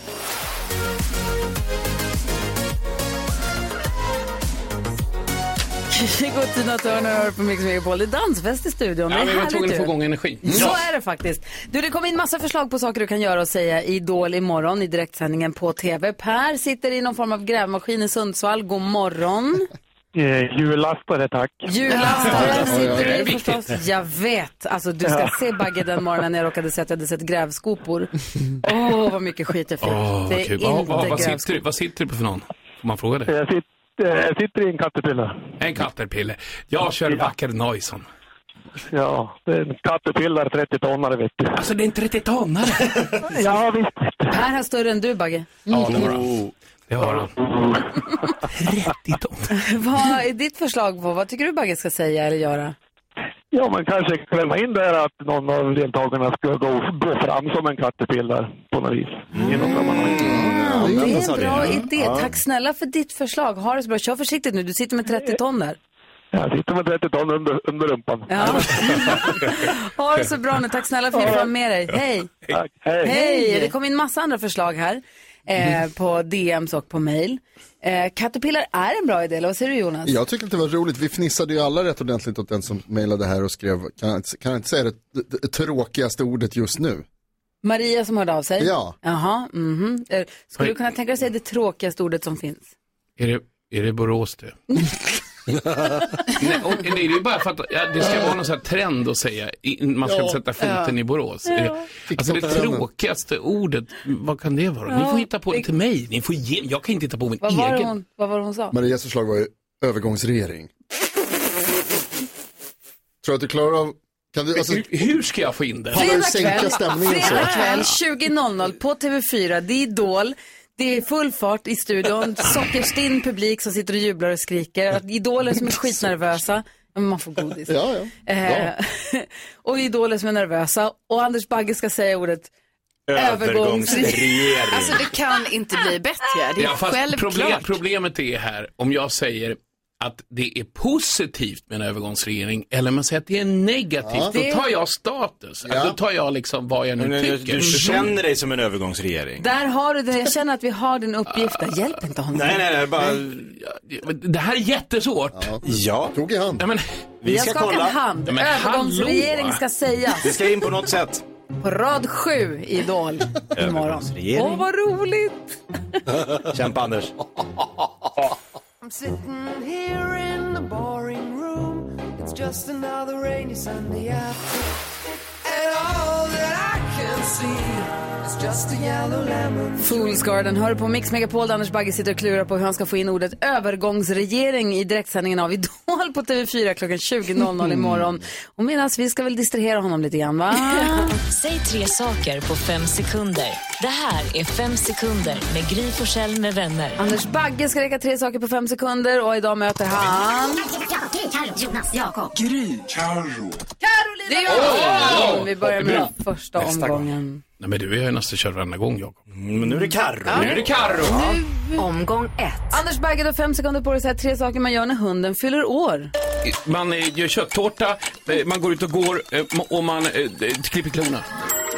A: God Tina Turner hör på Mix Megapol. Det är dansfest i studion.
O: Ja,
A: det
O: vi
A: är
O: var tvungna
A: härligt
O: att få
A: ju.
O: igång energin.
A: Så
O: Ja.
A: är det faktiskt. Du, det kom in massa förslag på saker du kan göra och säga i Idol imorgon i direktsändningen på TV. Per sitter i någon form av grävmaskin i Sundsvall. God morgon.
R: Eh, jullastare, tack.
A: Jullastare sitter
R: Det
A: du
R: är
A: i förstås.
R: viktigt.
A: Jag vet. Alltså, du ska
R: Ja.
A: se Bagge den morgonen när jag råkade säga att jag hade sett grävskopor. Åh, vad mycket skit jag fick.
O: Åh,
A: det
O: vad
A: är
O: kul.
A: inte
O: Vad, vad, vad,
A: grävskopor.
O: sitter, du- vad sitter du på för någon? Får man fråga det?
R: Jag sitter, jag sitter i en kattepille.
O: En katterpille. Jag kör Wacker Neuson.
R: Ja, det är en kattepillare 30-tonnare vet du.
O: Alltså det är en 30-tonnare?
R: ja, visst.
A: Per här större än du, Bagge.
O: Ja, det har han. Det har han.
A: Vad är ditt förslag på? Vad tycker du Bagge ska säga eller göra?
R: Ja, man kanske klämma in där att någon av deltagarna ska gå, gå fram som en kattepillare på något vis. I
A: Mm.
R: något sammanhang.
A: Ja, det är en bra idé. Tack snälla för ditt förslag. Ha det så bra. Kör försiktigt nu. Du sitter med 30 ton där.
R: Jag sitter med 30 ton under, under rumpan.
A: Ha det så bra nu. Tack snälla för att du var med dig. Hej.
R: Tack. Hej.
A: Hej. Det kom in massa andra förslag här. Eh, på DMs och på mail. Eh, Caterpillar är en bra idé, eller vad säger du Jonas?
I: Jag tyckte att det var roligt. Vi fnissade ju alla rätt ordentligt åt den som mejlade här och skrev, kan jag inte, kan jag inte säga det, det, det tråkigaste ordet just nu?
A: Maria som hörde av sig.
I: Ja.
A: Jaha, mhm. Eh, Skulle du kunna tänka dig att säga det tråkigaste ordet som finns?
O: Är det, är det Borås det? Nej, och det är ju bara för att ja, det ska vara någon sån här trend att säga, i- man ska
Q: Ja.
O: inte sätta foten
Q: Ja.
O: i Borås.
Q: Ja.
O: Är det- Alltså det
Q: TikTok-trenden.
O: tråkigaste ordet, vad kan det vara? Ni
A: Ja,
O: får hitta på det till mig, ni får ge, jag kan inte hitta på min
A: Vad var, det
O: egen.
A: hon, vad var det hon sa?
I: Marias förslag var ju övergångsregering. Tror du att du klarar av, kan du, alltså,
O: hur ska jag få in det?
I: Pallar du sänka stämningen så?
A: fredag kväll 20.00 på TV4. Det är Idol. Det är full fart i studion. Sockerstinn publik som sitter och jublar och skriker. Idoler som är skitnervösa. Men man får godis.
I: Ja, ja.
A: Eh, och idoler som är nervösa. Och Anders Bagge ska säga ordet
C: Övergångsregering.
F: Alltså det kan inte bli bättre. Det är
O: Ja, fast
F: självklart.
O: problem, problemet är här, om jag säger att det är positivt med en övergångsregering eller om man säger att det är negativt,
C: Ja. Det-
O: då tar jag status. Alltså, då tar jag liksom vad jag nu
C: Men, men,
O: tycker.
C: Du känner dig som en övergångsregering.
A: Där har du det. Jag känner att vi har din uppgift.
I: Ah.
A: där. Hjälp inte honom.
C: Nej, nej, nej, bara...
O: Det här är jättesvårt. Ja.
I: Tog i hand.
O: Ja, men,
A: Vi ska skaka hand. Övergångsregering ska sägas.
C: Det ska in på något sätt.
A: På rad 7 i Idol imorgon. Åh,
C: Övergångsregering.
A: vad roligt!
C: Kämpa Anders.
E: I'm sitting here in the boring room. It's just another rainy Sunday afternoon. And all that I can see is just a yellow lemon.
A: Fools Garden hör på Mix Megapol där Anders Bagge sitter och klurar på hur han ska få in ordet övergångsregering i direktsändningen av Idol på TV4 klockan 20.00 imorgon. Och medan vi ska väl distrahera honom lite grann va?
B: Säg tre saker på fem sekunder. Det här är fem sekunder med Gry Forssell med vänner.
A: Anders Bagge ska räcka tre saker på fem sekunder och idag möter han...
B: Jonas, Jakob.
A: Gry.
O: Carro.
A: Carolina! Det
O: Åh!
A: är jag! Vi börjar med
O: Bra.
A: första
O: Nästa
A: omgången.
O: Nej, men du är ju nästan kört varenda gång, Jakob.
C: men nu är det Carro.
O: Nu är det Carro.
A: Omgång ett. Anders Bagge, du har fem sekunder på dig att säga tre saker man gör när hunden fyller år.
O: Man eh, gör kötttårta, eh, man går ut och går eh, och man eh, klipper klorna.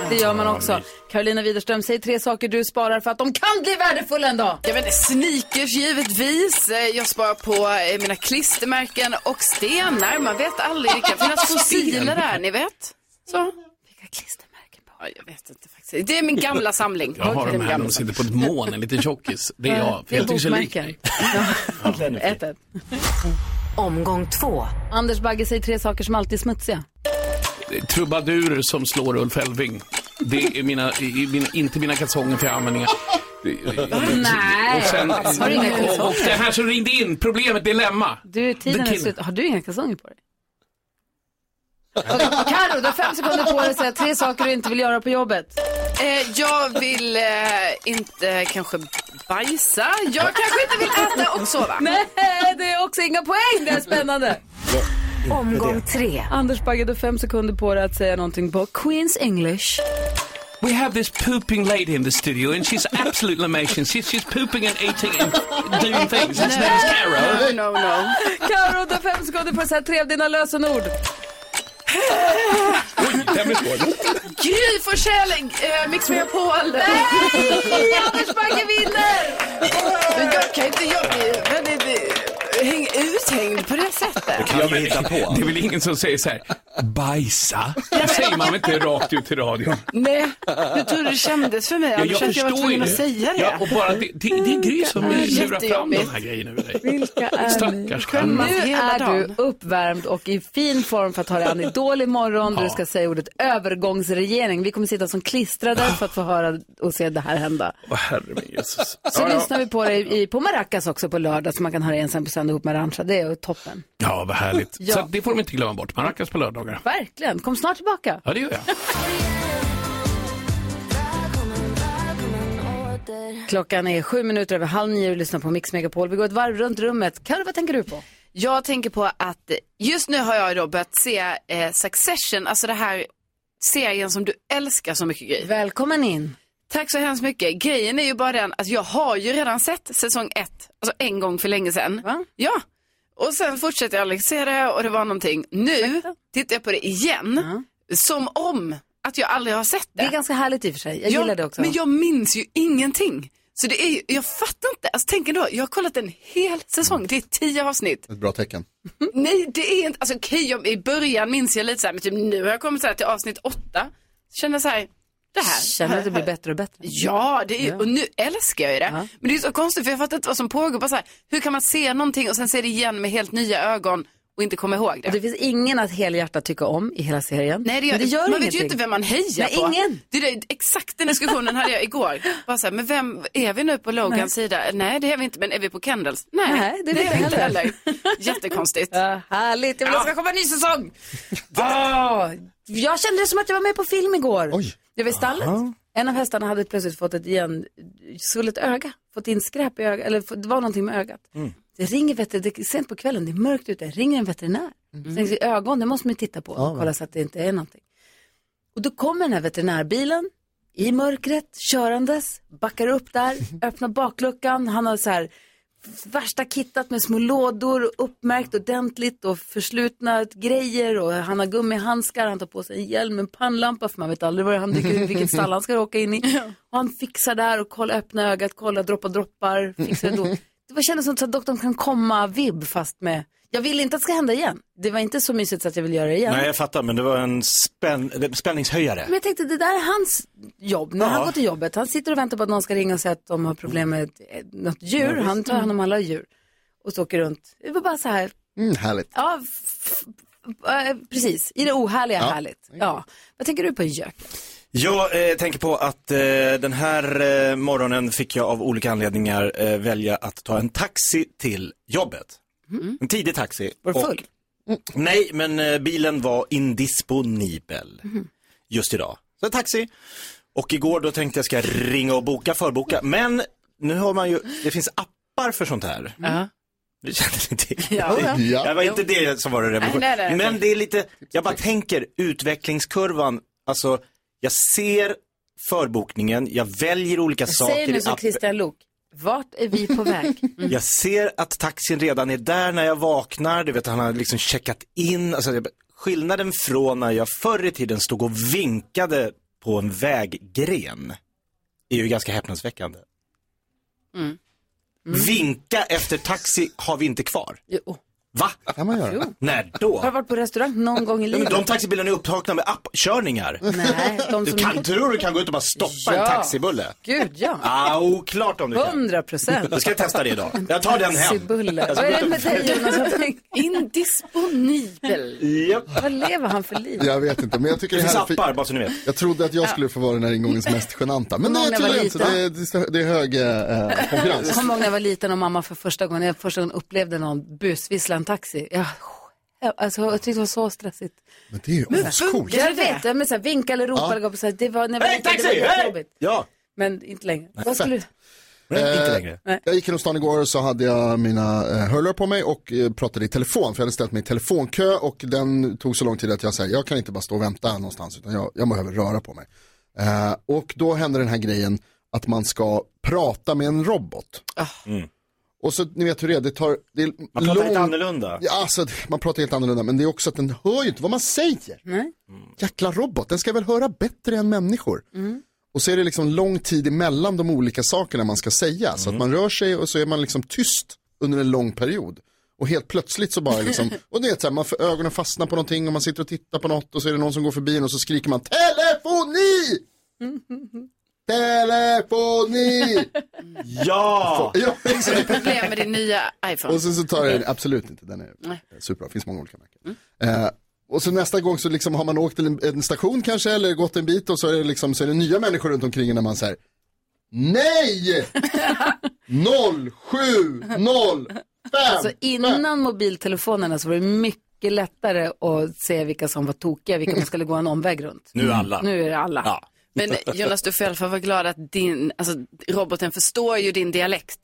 A: det gör man också. Carolina Widerström, säg tre saker du sparar för att de kan bli värdefulla en dag.
F: Ja, men sneakers givetvis. Eh, Jag sparar på eh, mina klistermärken och stenar. Man vet aldrig. Det kan finnas fossiler där, ni vet. Så. Vilka klistermärken? Ja, jag vet inte faktiskt. Det är min gamla samling.
O: Jag har
F: Det är
O: de
F: min
O: här,
F: gamla
O: de sitter på ett moln, en liten tjockis. Det är jag, för jag tycker så lik mig.
A: Ett, ett. Omgång två. Anders Bagge, säg tre saker som alltid är smutsiga.
O: Trubadurer som slår Ulf Elfving. Det är mina, i- i mina, inte mina kalsonger för jag använder inga.
A: Nej.
O: Och, sen,
A: Har du inga kalsonger?
O: och, och det här som ringde in, problemet, dilemma.
A: Du, tiden
O: The
A: är
O: King.
A: slut. Har du inga kalsonger på dig? Okej, Karo, du har fem sekunder på dig att säga tre saker du inte vill göra på jobbet.
F: Eh, jag vill eh, inte eh, kanske bajsa. Jag kanske inte vill äta och sova.
A: Nej, det är också inga poäng. Det är spännande. Omgång tre. Anders Bagge, du har fem sekunder på dig att säga någonting på Queen's English.
Q: We have this pooping lady in the studio and she's absolute lamation. She's, she's pooping and eating and doing things. Her name's Carol.
F: No, no.
A: Karo, du har fem sekunder på dig att säga tre av dina lösenord.
F: Gry Forssell, eh, Mix Megapol. Nej,
A: Anders Bagge vinner!
F: Jag kan inte, jag blir väldigt eh, häng, uthängd på det sättet.
Q: Ja, men Det är väl ingen som säger så här, bajsa? Det säger man väl inte rakt ut i radion?
F: Nej, hur tror du det kändes för mig?
Q: Ja,
F: Anders,
Q: jag
F: att jag var
Q: förstår ju
F: tvungen
Q: det.
F: att säga det.
Q: Ja, och bara att det, det, det är Gry som
F: Mm.
Q: lurar fram de
F: Jättejobbigt.
Q: här grejerna över dig.
A: Vilka är ni?
Q: Stackars Carro.
A: Nu är du uppvärmd och i fin form för att ta dig an Idol imorgon där du ska säga ordet övergångsregering. Vi kommer sitta som klistrade för att få höra och se det här hända.
Q: Åh, herre min Jesus.
A: Så lyssnar vi på dig i, på Maracas också på lördag så man kan höra en sen på söndag ihop med Arantxa. Det är ju toppen.
O: Ja, vad härligt.
A: Ja.
O: Så att det får de inte glömma bort. Maracas på lördagar.
A: Verkligen. Kom snart tillbaka.
O: Ja, det gör jag.
A: Klockan är sju minuter över halv nio och du lyssnar på Mix Megapol. Vi går ett varv runt rummet. Karl, vad tänker du på?
F: Jag tänker på att just nu har jag då börjat se eh, Succession, alltså det här serien som du älskar så mycket Gry.
A: Välkommen in.
F: Tack så hemskt mycket. Grejen är ju bara den att jag har ju redan sett säsong ett, alltså en gång för länge sedan. Ja, och sen fortsätter jag liksom se det och det var någonting. Nu tittar jag på det igen, som om att jag aldrig har sett det. Det är
A: ganska härligt i och för sig, jag
F: ja,
A: gillar det också.
F: Men jag minns ju ingenting. Så det är ju, jag fattar inte, alltså tänk ändå, jag har kollat en hel säsong, det är tio avsnitt.
I: Ett bra tecken.
F: Nej, det är inte, alltså okej, jag- i början minns jag lite så här, men typ nu har jag kommit så här till avsnitt åtta. Känner jag så här, det här.
A: Känner att det blir bättre och bättre.
F: Ja, det är, och nu älskar jag ju det.
A: Ja.
F: Men det är så konstigt för jag fattar inte vad som pågår. Bara så här, hur kan man se någonting och sen se det igen med helt nya ögon och inte komma ihåg det?
A: Och det finns ingen att helhjärtat tycka om i hela serien.
F: Nej, det gör,
A: Men det gör
F: man vet ju
A: ingenting.
F: inte vem man hejar
A: Nej,
F: på.
A: ingen.
F: Det är det, exakt den diskussionen hade jag igår. Bara så här, men vem, är vi nu på Logans
A: Nej.
F: sida? Nej, det är vi inte. Men är vi på Kendalls? Nej,
A: Nej, det är vi inte heller.
F: Jättekonstigt.
A: Ja, härligt, jag vill att det ska komma en ny säsong. Ah, jag kände det som att jag var med på film igår. Jag var i stallet. En av hästarna hade plötsligt fått ett igen, svullet öga, fått in skräp i ögat, eller fått- det var någonting med ögat. Det ringer veterinär, det är sent på kvällen, det är mörkt ute, ringer en veterinär. Mm. Sen i ögon, det måste man ju titta på
E: Ja,
A: och
E: va.
A: kolla så att det inte är någonting. Och då kommer den här veterinärbilen i mörkret, körandes, backar upp där, öppnar bakluckan, han har så här värsta kittat med små lådor, uppmärkt ordentligt och förslutna grejer och han har gummihandskar, han tar på sig en hjälm, en pannlampa för man vet aldrig var han dyker, vilket stall han ska råka in i. Och han fixar där och kollar, öppna ögat, kollar, droppar droppar, fixar det då. Det var kändes som att doktorn kan komma vibb fast med, jag vill inte att det ska hända igen. Det var inte så mysigt så att jag vill göra det igen.
C: Nej, jag fattar, men det var en spänn... det- spänningshöjare.
A: Men jag tänkte, det där är hans jobb. När han
C: Ja.
A: går till jobbet, han sitter och väntar på att någon ska ringa och säga att de har problem med eh, något
I: Ja,
A: djur.
I: visst.
A: Han tar hand om alla djur. Och så åker runt. Det var bara så här,
I: Mm, härligt.
A: ja, f- f- eh, precis. I det ohärliga
C: Ja.
A: härligt. Ja. Vad tänker du på Jök?
C: Jag eh, tänker på att eh, den här eh, morgonen fick jag av olika anledningar eh, välja att ta en taxi till jobbet. En tidig taxi.
A: Mm. Var du
C: Och-
A: full?
C: Nej, men eh, bilen var indisponibel just idag. Så en taxi. Och igår då tänkte jag ska jag ringa och boka, förboka. Men nu har man ju, det finns appar för sånt här.
F: Ja.
C: Det kändes inte
F: Ja. Ja.
C: Det var inte det som var det
F: Nej, nej, nej.
C: revolutionära. Men det är lite, jag bara tänker utvecklingskurvan, alltså jag ser förbokningen, jag väljer olika
A: Säg
C: saker
A: nu
C: i
A: som
C: appen.
A: Christian Lok. Vart är vi på väg?
C: Jag ser att taxin redan är där när jag vaknar, du vet han har liksom checkat in. Alltså, jag- skillnaden från när jag förr i tiden stod och vinkade på en väggren är ju ganska häpnadsväckande.
F: Mm.
C: Vinka efter taxi har vi inte kvar.
A: Jo.
C: Va? Kan man göra? När då?
A: Har du varit på restaurang någon gång i
C: Ja, men
A: livet?
C: de taxibilarna är upptagna med appkörningar.
A: Nej, de
C: Du
A: som-
C: kan, tror du kan gå ut och bara stoppa
A: Ja.
C: en taxibulle?
A: Gud, ja.
C: Ah, oklart om du kan.
A: 100 procent.
C: Då ska jag testa det idag. Jag tar den hem.
A: Taxibulle.
C: Jag
A: Vad
C: ska
A: är
C: gå
A: det
C: ut
A: med
C: och-
A: dig Jonas? Jag tänker-
F: Indisponibel.
C: Japp.
A: Vad lever han för liv?
I: Jag vet inte, men jag tycker
C: Det finns
I: här är för-
C: appar, bara så ni vet.
I: Jag trodde att jag skulle få vara den här ingångens mest genanta. Men det
A: Många
I: är
A: var
I: tydligen inte,
A: liten.
I: det är, det är hög eh,
A: Jag
I: konkurrens.
A: kommer ihåg när jag var liten och mamma för första gången, jag första gången upplevde någon busvissla en taxi. Jag, alltså, jag tyckte det var så stressigt.
I: Men det är ju ascoolt.
A: Jag vet, jag men så här, vinka eller ropa
I: Ja.
A: eller gå på så här, det var när jag var
I: Hej,
A: liten, det var
I: taxi! Hej!
A: jättejobbigt.
C: Ja.
A: Men inte längre.
I: Nej,
A: Vad skulle du?
I: fett. Eh, Jag gick genom stan igår och så hade jag mina eh, hörlurar på mig och eh, pratade i telefon. För jag hade ställt mig i telefonkö och den tog så lång tid att jag säger jag kan inte bara stå och vänta någonstans utan jag, jag behöver röra på mig. Eh, och då hände den här grejen att man ska prata med en robot. Och så ni vet hur det är, det tar... Det är
C: Mm. Man pratar lite annorlunda.
I: Ja, alltså, det- man pratar helt annorlunda men det är också att den hör ju inte vad man säger.
A: Nej.
I: Jäkla robot, den ska väl höra bättre än människor. Och så är det liksom lång tid emellan de olika sakerna man ska säga. Så att man rör sig och så är man liksom tyst under en lång period. Och helt plötsligt så bara liksom, och det är så här, man får ögonen fastnar på någonting och man sitter och tittar på något och så är det någon som går förbi en och så skriker man telefoni! Telefoni!
C: ja!
I: ja
F: Har du problem med din nya iPhone?
I: och sen så tar jag den, absolut inte, den är
F: Nej.
I: superbra, finns många olika märken.
A: Mm.
I: Eh, och så nästa gång så liksom har man åkt till en, en station kanske eller gått en bit och så är det, liksom, så är det nya människor runt omkring en när man säger Nej! 07 0
A: Alltså innan mobiltelefonerna så var det mycket lättare att se vilka som var tokiga, vilka man skulle gå en omväg runt.
F: Nu är
K: Mm.
F: alla.
A: Nu är det alla. eh,
F: Men Jonas, du får i alla fall vara glad att din, alltså, roboten förstår ju din dialekt.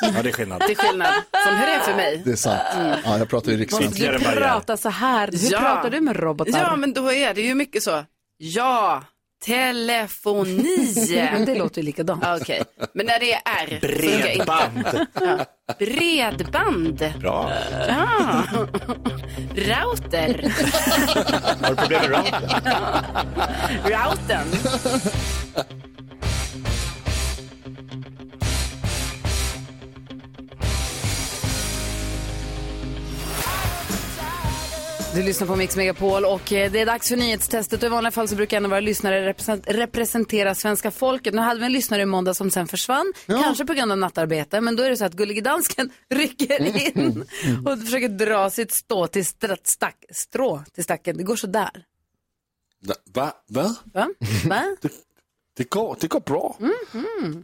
C: Ja, det är skillnad.
F: Det är skillnad från hur det är för mig.
I: Det är sant. Ja, jag pratar ju
A: Mm. Måste
I: riksvenska.
A: du prata så här? Hur
F: Ja.
A: pratar du med robotar?
F: Ja, men då är det ju mycket så. Ja, telefoni.
A: Men det låter ju likadant.
F: Ja, Okej, men när det är R. funkar inte.
A: Bredband.
F: Ja. Bredband.
C: Bra.
F: Ja. Router.
C: Har du problem med routern?
F: Routern.
A: Du lyssnar på Mix Megapol och eh, det är dags för nyhetstestet. Och I vanliga fall så brukar en av våra lyssnare represent- representera svenska folket. Nu hade vi en lyssnare i måndag som sen försvann, kanske på grund av nattarbete. Men då är det så att Gullige Dansken rycker in och försöker dra sitt stå till stra- stack, strå till stacken. Det går så där.
K: Va? Va?
A: Va? Va?
K: Det går, det går bra.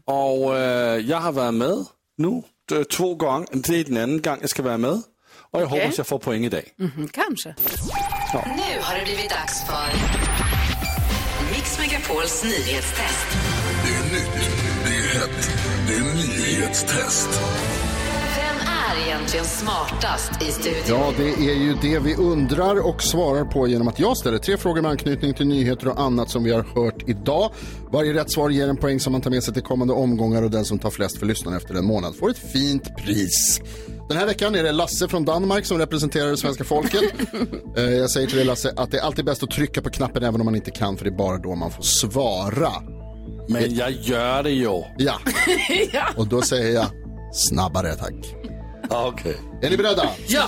K: Och eh, jag har varit med nu eh, två gånger. Det är den andra gången jag ska vara med. Och jag
A: Okej.
K: hoppas jag får poäng idag.
A: Mhm, kanske.
B: Nu har det blivit dags för Mix Megapols nyhetstest.
S: Det är nytt, det är hett, det är nyhetstest.
B: Vem är egentligen smartast i studion?
I: Ja, det är ju det vi undrar och svarar på genom att jag ställer tre frågor med anknytning till nyheter och annat som vi har hört idag. Varje rätt svar ger en poäng som man tar med sig till kommande omgångar och den som tar flest för lyssnarna efter en månad får ett fint pris. Den här veckan är det Lasse från Danmark som representerar det svenska folket. Eh, Jag säger till dig Lasse att det är alltid bäst att trycka på knappen även om man inte kan för det är bara då man får svara.
K: Men jag gör det ju.
I: Ja, och då säger jag snabbare tack.
K: Okej.
I: Är ni beredda?
K: Ja.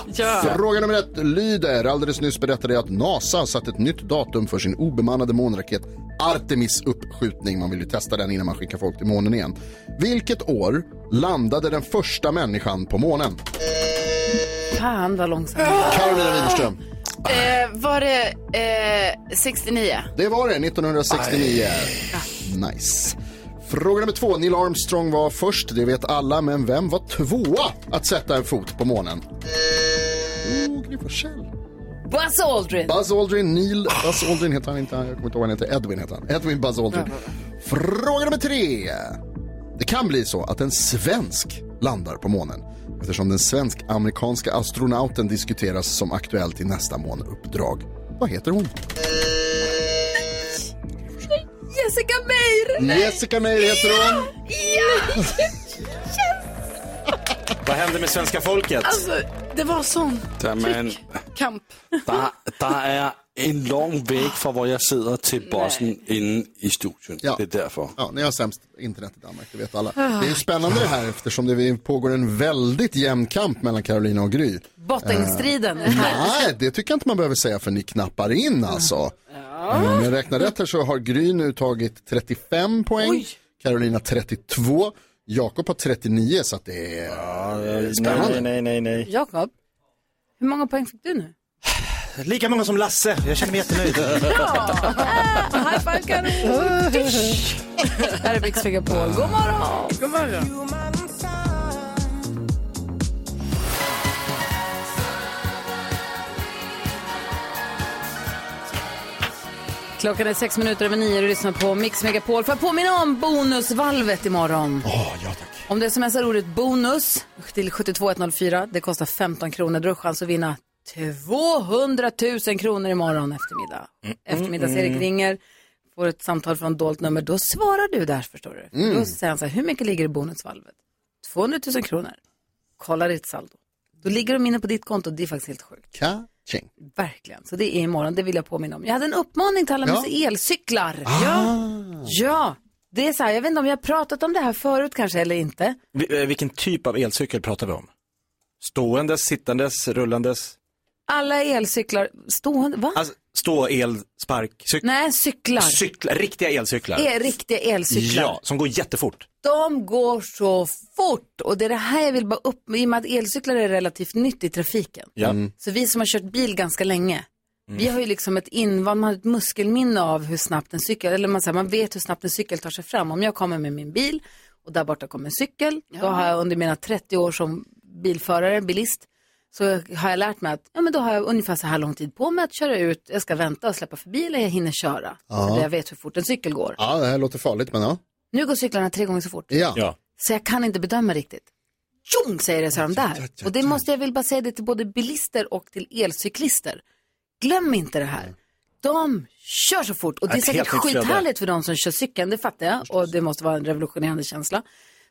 I: Fråga nummer ett lyder. Alldeles nyss berättade jag att NASA har satt ett nytt datum för sin obemannade månraket Artemis uppskjutning. Man vill ju testa den innan man skickar folk till månen igen. Vilket år landade den första människan på månen?
A: Fan vad långsamt.
I: Carolina Widerström.
F: Eh, var det eh, 69?
I: Det var det, 1969. Nice. Fråga nummer två. Neil Armstrong var först, det vet alla, men vem var tvåa att sätta en fot på månen? Oh, Gry Forssell.
A: Buzz Aldrin.
I: Buzz Aldrin, Neil, Buzz Aldrin heter han inte, jag kommer inte ihåg vad han heter, Edwin heter han. Edwin Buzz Aldrin. Fråga nummer tre. Det kan bli så att en svensk landar på månen eftersom den svensk-amerikanska astronauten diskuteras som aktuell till nästa månuppdrag. Vad heter hon?
A: Jessica Meir!
I: Jessica Meir heter hon.
A: Ja!
C: Vad händer med svenska folket?
F: Alltså, det var sån
K: Jamen,
F: kamp.
K: der, der er en lång väg från var jag sitter till bossen inne i studion. Det är därför.
I: Ja, ni har sämst internet i Danmark, det vet alla. Det är ju spännande det här eftersom det pågår en väldigt jämn kamp mellan Carolina och Gry.
A: Bottenstriden.
I: Eh, nej, det tycker jag inte man behöver säga för ni knappar in alltså. Eh, Om jag räknar rätt här så har Gry nu tagit 35 poäng, Carolina 32, Jakob har 39 så att det är spännande.
C: Nej, nej, nej, nej.
A: Jakob, hur många poäng fick du nu?
C: Lika många som Lasse. Jag känner mig jättenöjd.
A: High five Carro! Tysch! Här är Mix Megapol. God morgon! God morgon! Klockan är sex minuter över nio och du lyssnar på Mix Megapol. Får jag påminna om bonusvalvet imorgon?
C: Oh, ja, tack.
A: Om du smsar ordet bonus till 72104, det kostar 15 kronor, då har du chans att vinna 200 000 kronor imorgon
D: Mm,
A: eftermiddag.
D: mm,
A: Eftermiddags-Erik
D: mm.
A: ringer, får ett samtal från dolt nummer, då svarar du där förstår du.
D: Mm.
A: Då säger han så här, hur mycket ligger i bonusvalvet? 200 000 kronor. Kolla ditt saldo. Då ligger de inne på ditt konto, det är faktiskt helt sjukt.
I: Ka-ching.
A: Verkligen, så det är imorgon, det vill jag påminna om. Jag hade en uppmaning till alla
I: Ja.
A: med sig elcyklar. Ja. ja, det är så här, jag vet inte om jag har pratat om det här förut kanske eller inte.
C: Vi- eh, Vilken typ av elcykel pratar vi om? Ståendes, sittandes, rullandes?
A: Alla elcyklar, stående, va?
C: Alltså, stå, el, spark, cykel?
A: Nej, cyklar.
C: Cyklar, riktiga elcyklar.
A: Är riktiga elcyklar.
C: Ja, som går jättefort.
A: De går så fort och det är det här jag vill bara upp med, i och med att elcyklar är relativt nytt i trafiken.
C: Ja. Mm.
A: Så vi som har kört bil ganska länge,
D: Mm.
A: vi har ju liksom ett invand, man har ett muskelminne av hur snabbt en cykel, eller man, säger, man vet hur snabbt en cykel tar sig fram. Om jag kommer med min bil och där borta kommer en cykel, då har jag under mina 30 år som bilförare, bilist, så har jag lärt mig att ja, men då har jag ungefär så här lång tid på mig att köra ut, jag ska vänta och släppa förbi eller jag hinner köra.
I: Ja.
A: Så jag vet hur fort en cykel går.
I: Ja, det här låter farligt men ja.
A: Nu går cyklarna tre gånger så fort.
I: Ja.
A: Så jag kan inte bedöma riktigt. Tjong säger det så här om där. Och det måste jag väl bara säga det till både bilister och till elcyklister. Glöm inte det här. De kör så fort och det är
D: Ett
A: säkert
D: helt nytt flöde.
A: skithärligt för de som kör cykeln, det fattar jag. Och det måste vara en revolutionerande känsla.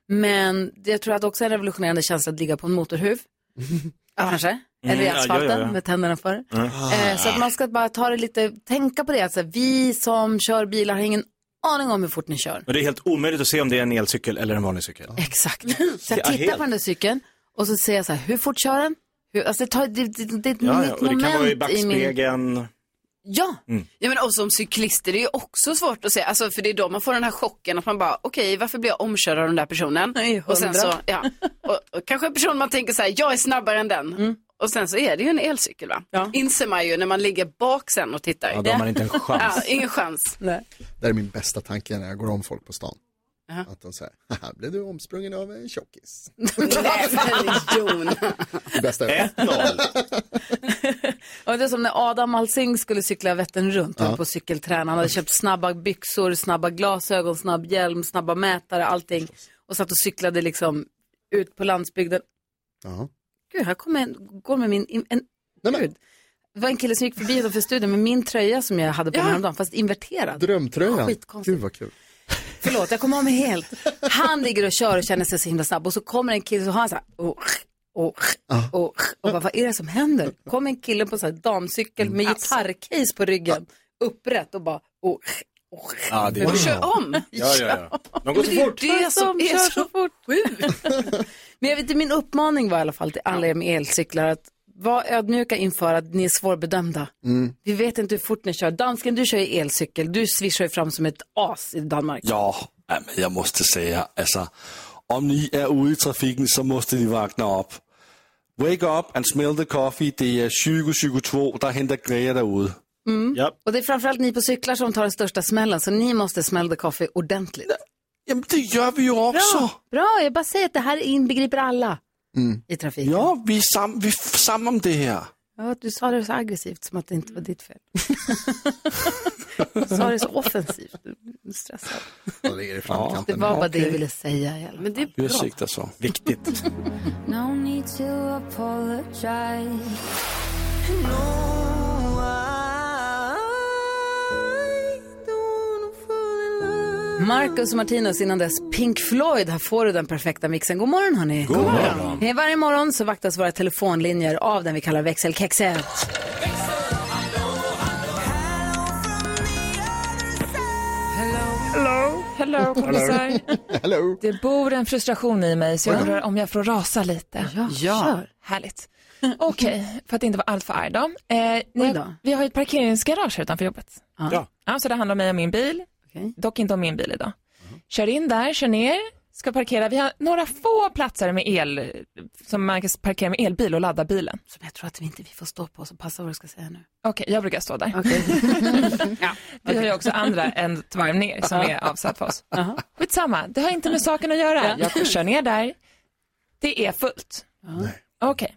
A: Men jag tror att också en revolutionerande känsla att ligga på en motorhuv. Kanske. Eller
D: Mm,
A: i
D: ja,
A: asfalten
D: ja, ja, ja.
A: med tänderna före.
D: Mm.
C: Ah.
A: Eh, så att man ska bara ta det lite, tänka på det. Alltså, vi som kör bilar har ingen aning om hur fort ni kör.
C: Men det är helt omöjligt att se om det är en elcykel eller en vanlig cykel.
A: Exakt. Så
C: Ja,
A: jag tittar
C: helt.
A: på den där cykeln och så ser jag så här, hur fort kör den? Hur, alltså det, tar, det, det, det är ett
C: Ja,
A: nytt
C: ja. Och det
A: moment
C: kan vara i
A: i min...
C: backspegeln.
A: Ja.
C: Mm.
L: Ja, men och som cyklister, det är ju också svårt att säga, alltså, för det är då man får den här chocken att man bara, okej, varför blir jag omkörd av den där personen? och sen så,
A: hundra.
L: ja, och, och kanske en person man tänker så här, jag är snabbare än den.
A: Mm.
L: Och sen så är det ju en elcykel va? Inser man ju när man ligger bak sen och tittar.
I: Ja, då har man inte en chans.
L: Ja, ingen chans.
A: Nej.
I: Det är min bästa tanke när jag går om folk på stan.
L: Jaha.
I: Att de säger, haha, blev du omsprungen av en tjockis?
L: Jon.
I: Det bästa
C: Eh.
I: jag vet.
A: Och det är som när Adam Alsing skulle cykla Vättern runt,
I: Ja.
A: ja. på cykeltränaren. Han hade köpt snabba byxor, snabba glasögon, snabb hjälm, snabba mätare, allting. Och satt och cyklade liksom ut på landsbygden.
I: Ja.
A: Gud, här kommer en, går med min, en, gud. Det var en kille som gick förbi utanför studion med min tröja som jag hade på mig häromdagen, fast inverterad.
I: Drömtröjan.
A: Skitkonstigt.
I: Gud vad kul.
A: Förlåt, jag kommer av mig helt. Han ligger och kör och känner sig så himla snabb och så kommer en kille så har han så här och och och, och bara, vad är det som händer? Kommer en kille på så här damcykel med
C: Alltså.
A: gitarrcase på ryggen upprätt och bara och och
C: Ja, det är-
A: och kör om.
C: Ja, ja, ja. De går så
A: Men det är
C: fort.
A: Det som
L: De
A: är
L: kör
A: så,
L: så
A: fort. Men jag vet inte, min uppmaning var i alla fall till alla er med elcyklar att var ödmjuka inför att ni är svårbedömda.
I: Mm.
A: Vi vet inte hur fort ni kör. Dansken, du kör ju elcykel. Du svischar ju fram som ett as i Danmark.
K: Ja, ja, men jag måste säga, alltså, om ni är ute i trafiken så måste ni vakna upp. Wake up and smell the coffee, det är 2022, där händer grejer där ute.
A: Mm.
C: Ja.
A: Och det är framförallt ni på cyklar som tar den största smällen, så ni måste smälla the coffee ordentligt.
K: Ja, men det gör vi ju också.
A: Bra, bra. jag bara säger att det här inbegriper alla. I trafiken.
K: Ja, vi är sam, vi är f- samma om det här.
A: Ja, du sa det så aggressivt som att det inte var ditt fel. du sa det så offensivt. Du är Stressad.
I: De ligger i
A: Det
I: framkanten.
A: var bara det jag ville säga i alla fall. Mm, Men det är
K: Ursäkta så.
C: Viktigt.
E: No need to apologize. No, I don't fall in love.
A: Marcus och Martinus innan dess Pink Floyd. Här får du den perfekta mixen. God morgon hörni.
E: God morgon.
A: Hej, Varje morgon så vaktas våra telefonlinjer av den vi kallar växelkexet.
T: Hello kompisar.
I: Hello.
T: Det bor en frustration i mig så jag undrar om jag får rasa lite. Ja,
A: kör.
T: Härligt. Okej, för att inte vara alltför arg då. Eh, nej, vi har ju ett parkeringsgarage här utanför jobbet.
A: Ja.
T: så det handlar om mig och min bil. Dock inte om min bil idag. Kör in där, kör ner, ska parkera. Vi har några få platser med el, som man kan parkera med elbil och ladda bilen.
A: Som jag tror att vi inte vi får stå på, så passa vad du ska säga nu.
T: Okej, jag brukar stå där. Vi har ju också andra än ett varv ner som är avsatt för oss. Skitsamma, det har inte med saken att göra. Jag kör ner där. Det är fullt. Okej,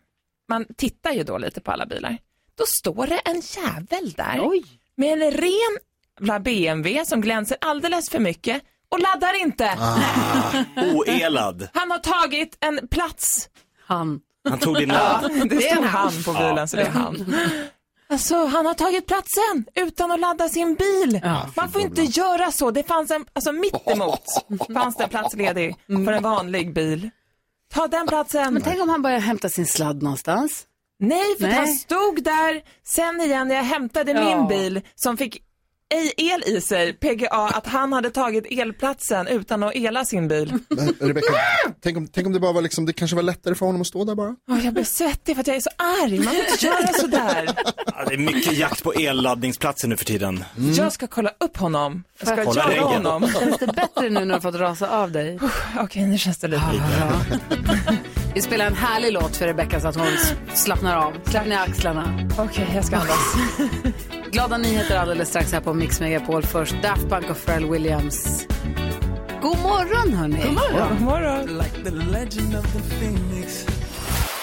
T: man tittar ju då lite på alla bilar. Då står det en jävel där med en ren jävla BMW som glänser alldeles för mycket och laddar inte.
C: Oelad.
T: Han har tagit en plats.
A: Han.
C: Han tog din
T: ja,
C: ladd.
T: Det stod han på bilen så det är han. Alltså han har tagit platsen utan att ladda sin bil. Man får inte göra så. Det fanns en, alltså mittemot fanns det en plats ledig för en vanlig bil. Ta den platsen.
A: Men tänk om han börjar hämta sin sladd någonstans.
T: Nej, för
A: Nej.
T: han stod där sen igen när jag hämtade
A: Ja.
T: min bil som fick ej el i sig, PGA, att han hade tagit elplatsen utan att ela sin bil.
I: Men, Rebecca, tänk, om, tänk om det bara var liksom, det kanske var lättare för honom att stå där bara.
T: Åh, jag blir svettig för att jag är så arg. Man får inte göra sådär.
C: Ja, det är mycket jakt på elladdningsplatser nu för tiden.
T: Jag ska kolla upp honom. Jag ska
C: Kolla
T: jaga
C: ryggen.
T: honom.
A: Känns det bättre nu när du har fått rasa av dig?
T: Okej, nu känns det lite
A: Vi spelar en härlig låt för Rebecca så att hon s- slappnar av. Slappna ner axlarna.
T: Okej, jag ska andas.
A: Glada nyheter alldeles strax här på Mix Megapol. Först Daft Punk och Pharrell Williams. God morgon hörni!
E: God morgon. God
T: morgon.
E: Like the legend of the phoenix.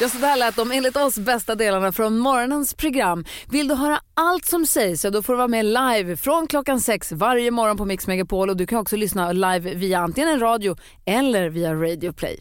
A: Ja, så där lät de enligt oss bästa delarna från morgonens program. Vill du höra allt som sägs så då får du vara med live från klockan sex varje morgon på Mix Megapol och du kan också lyssna live via antingen en radio eller via Radio Play.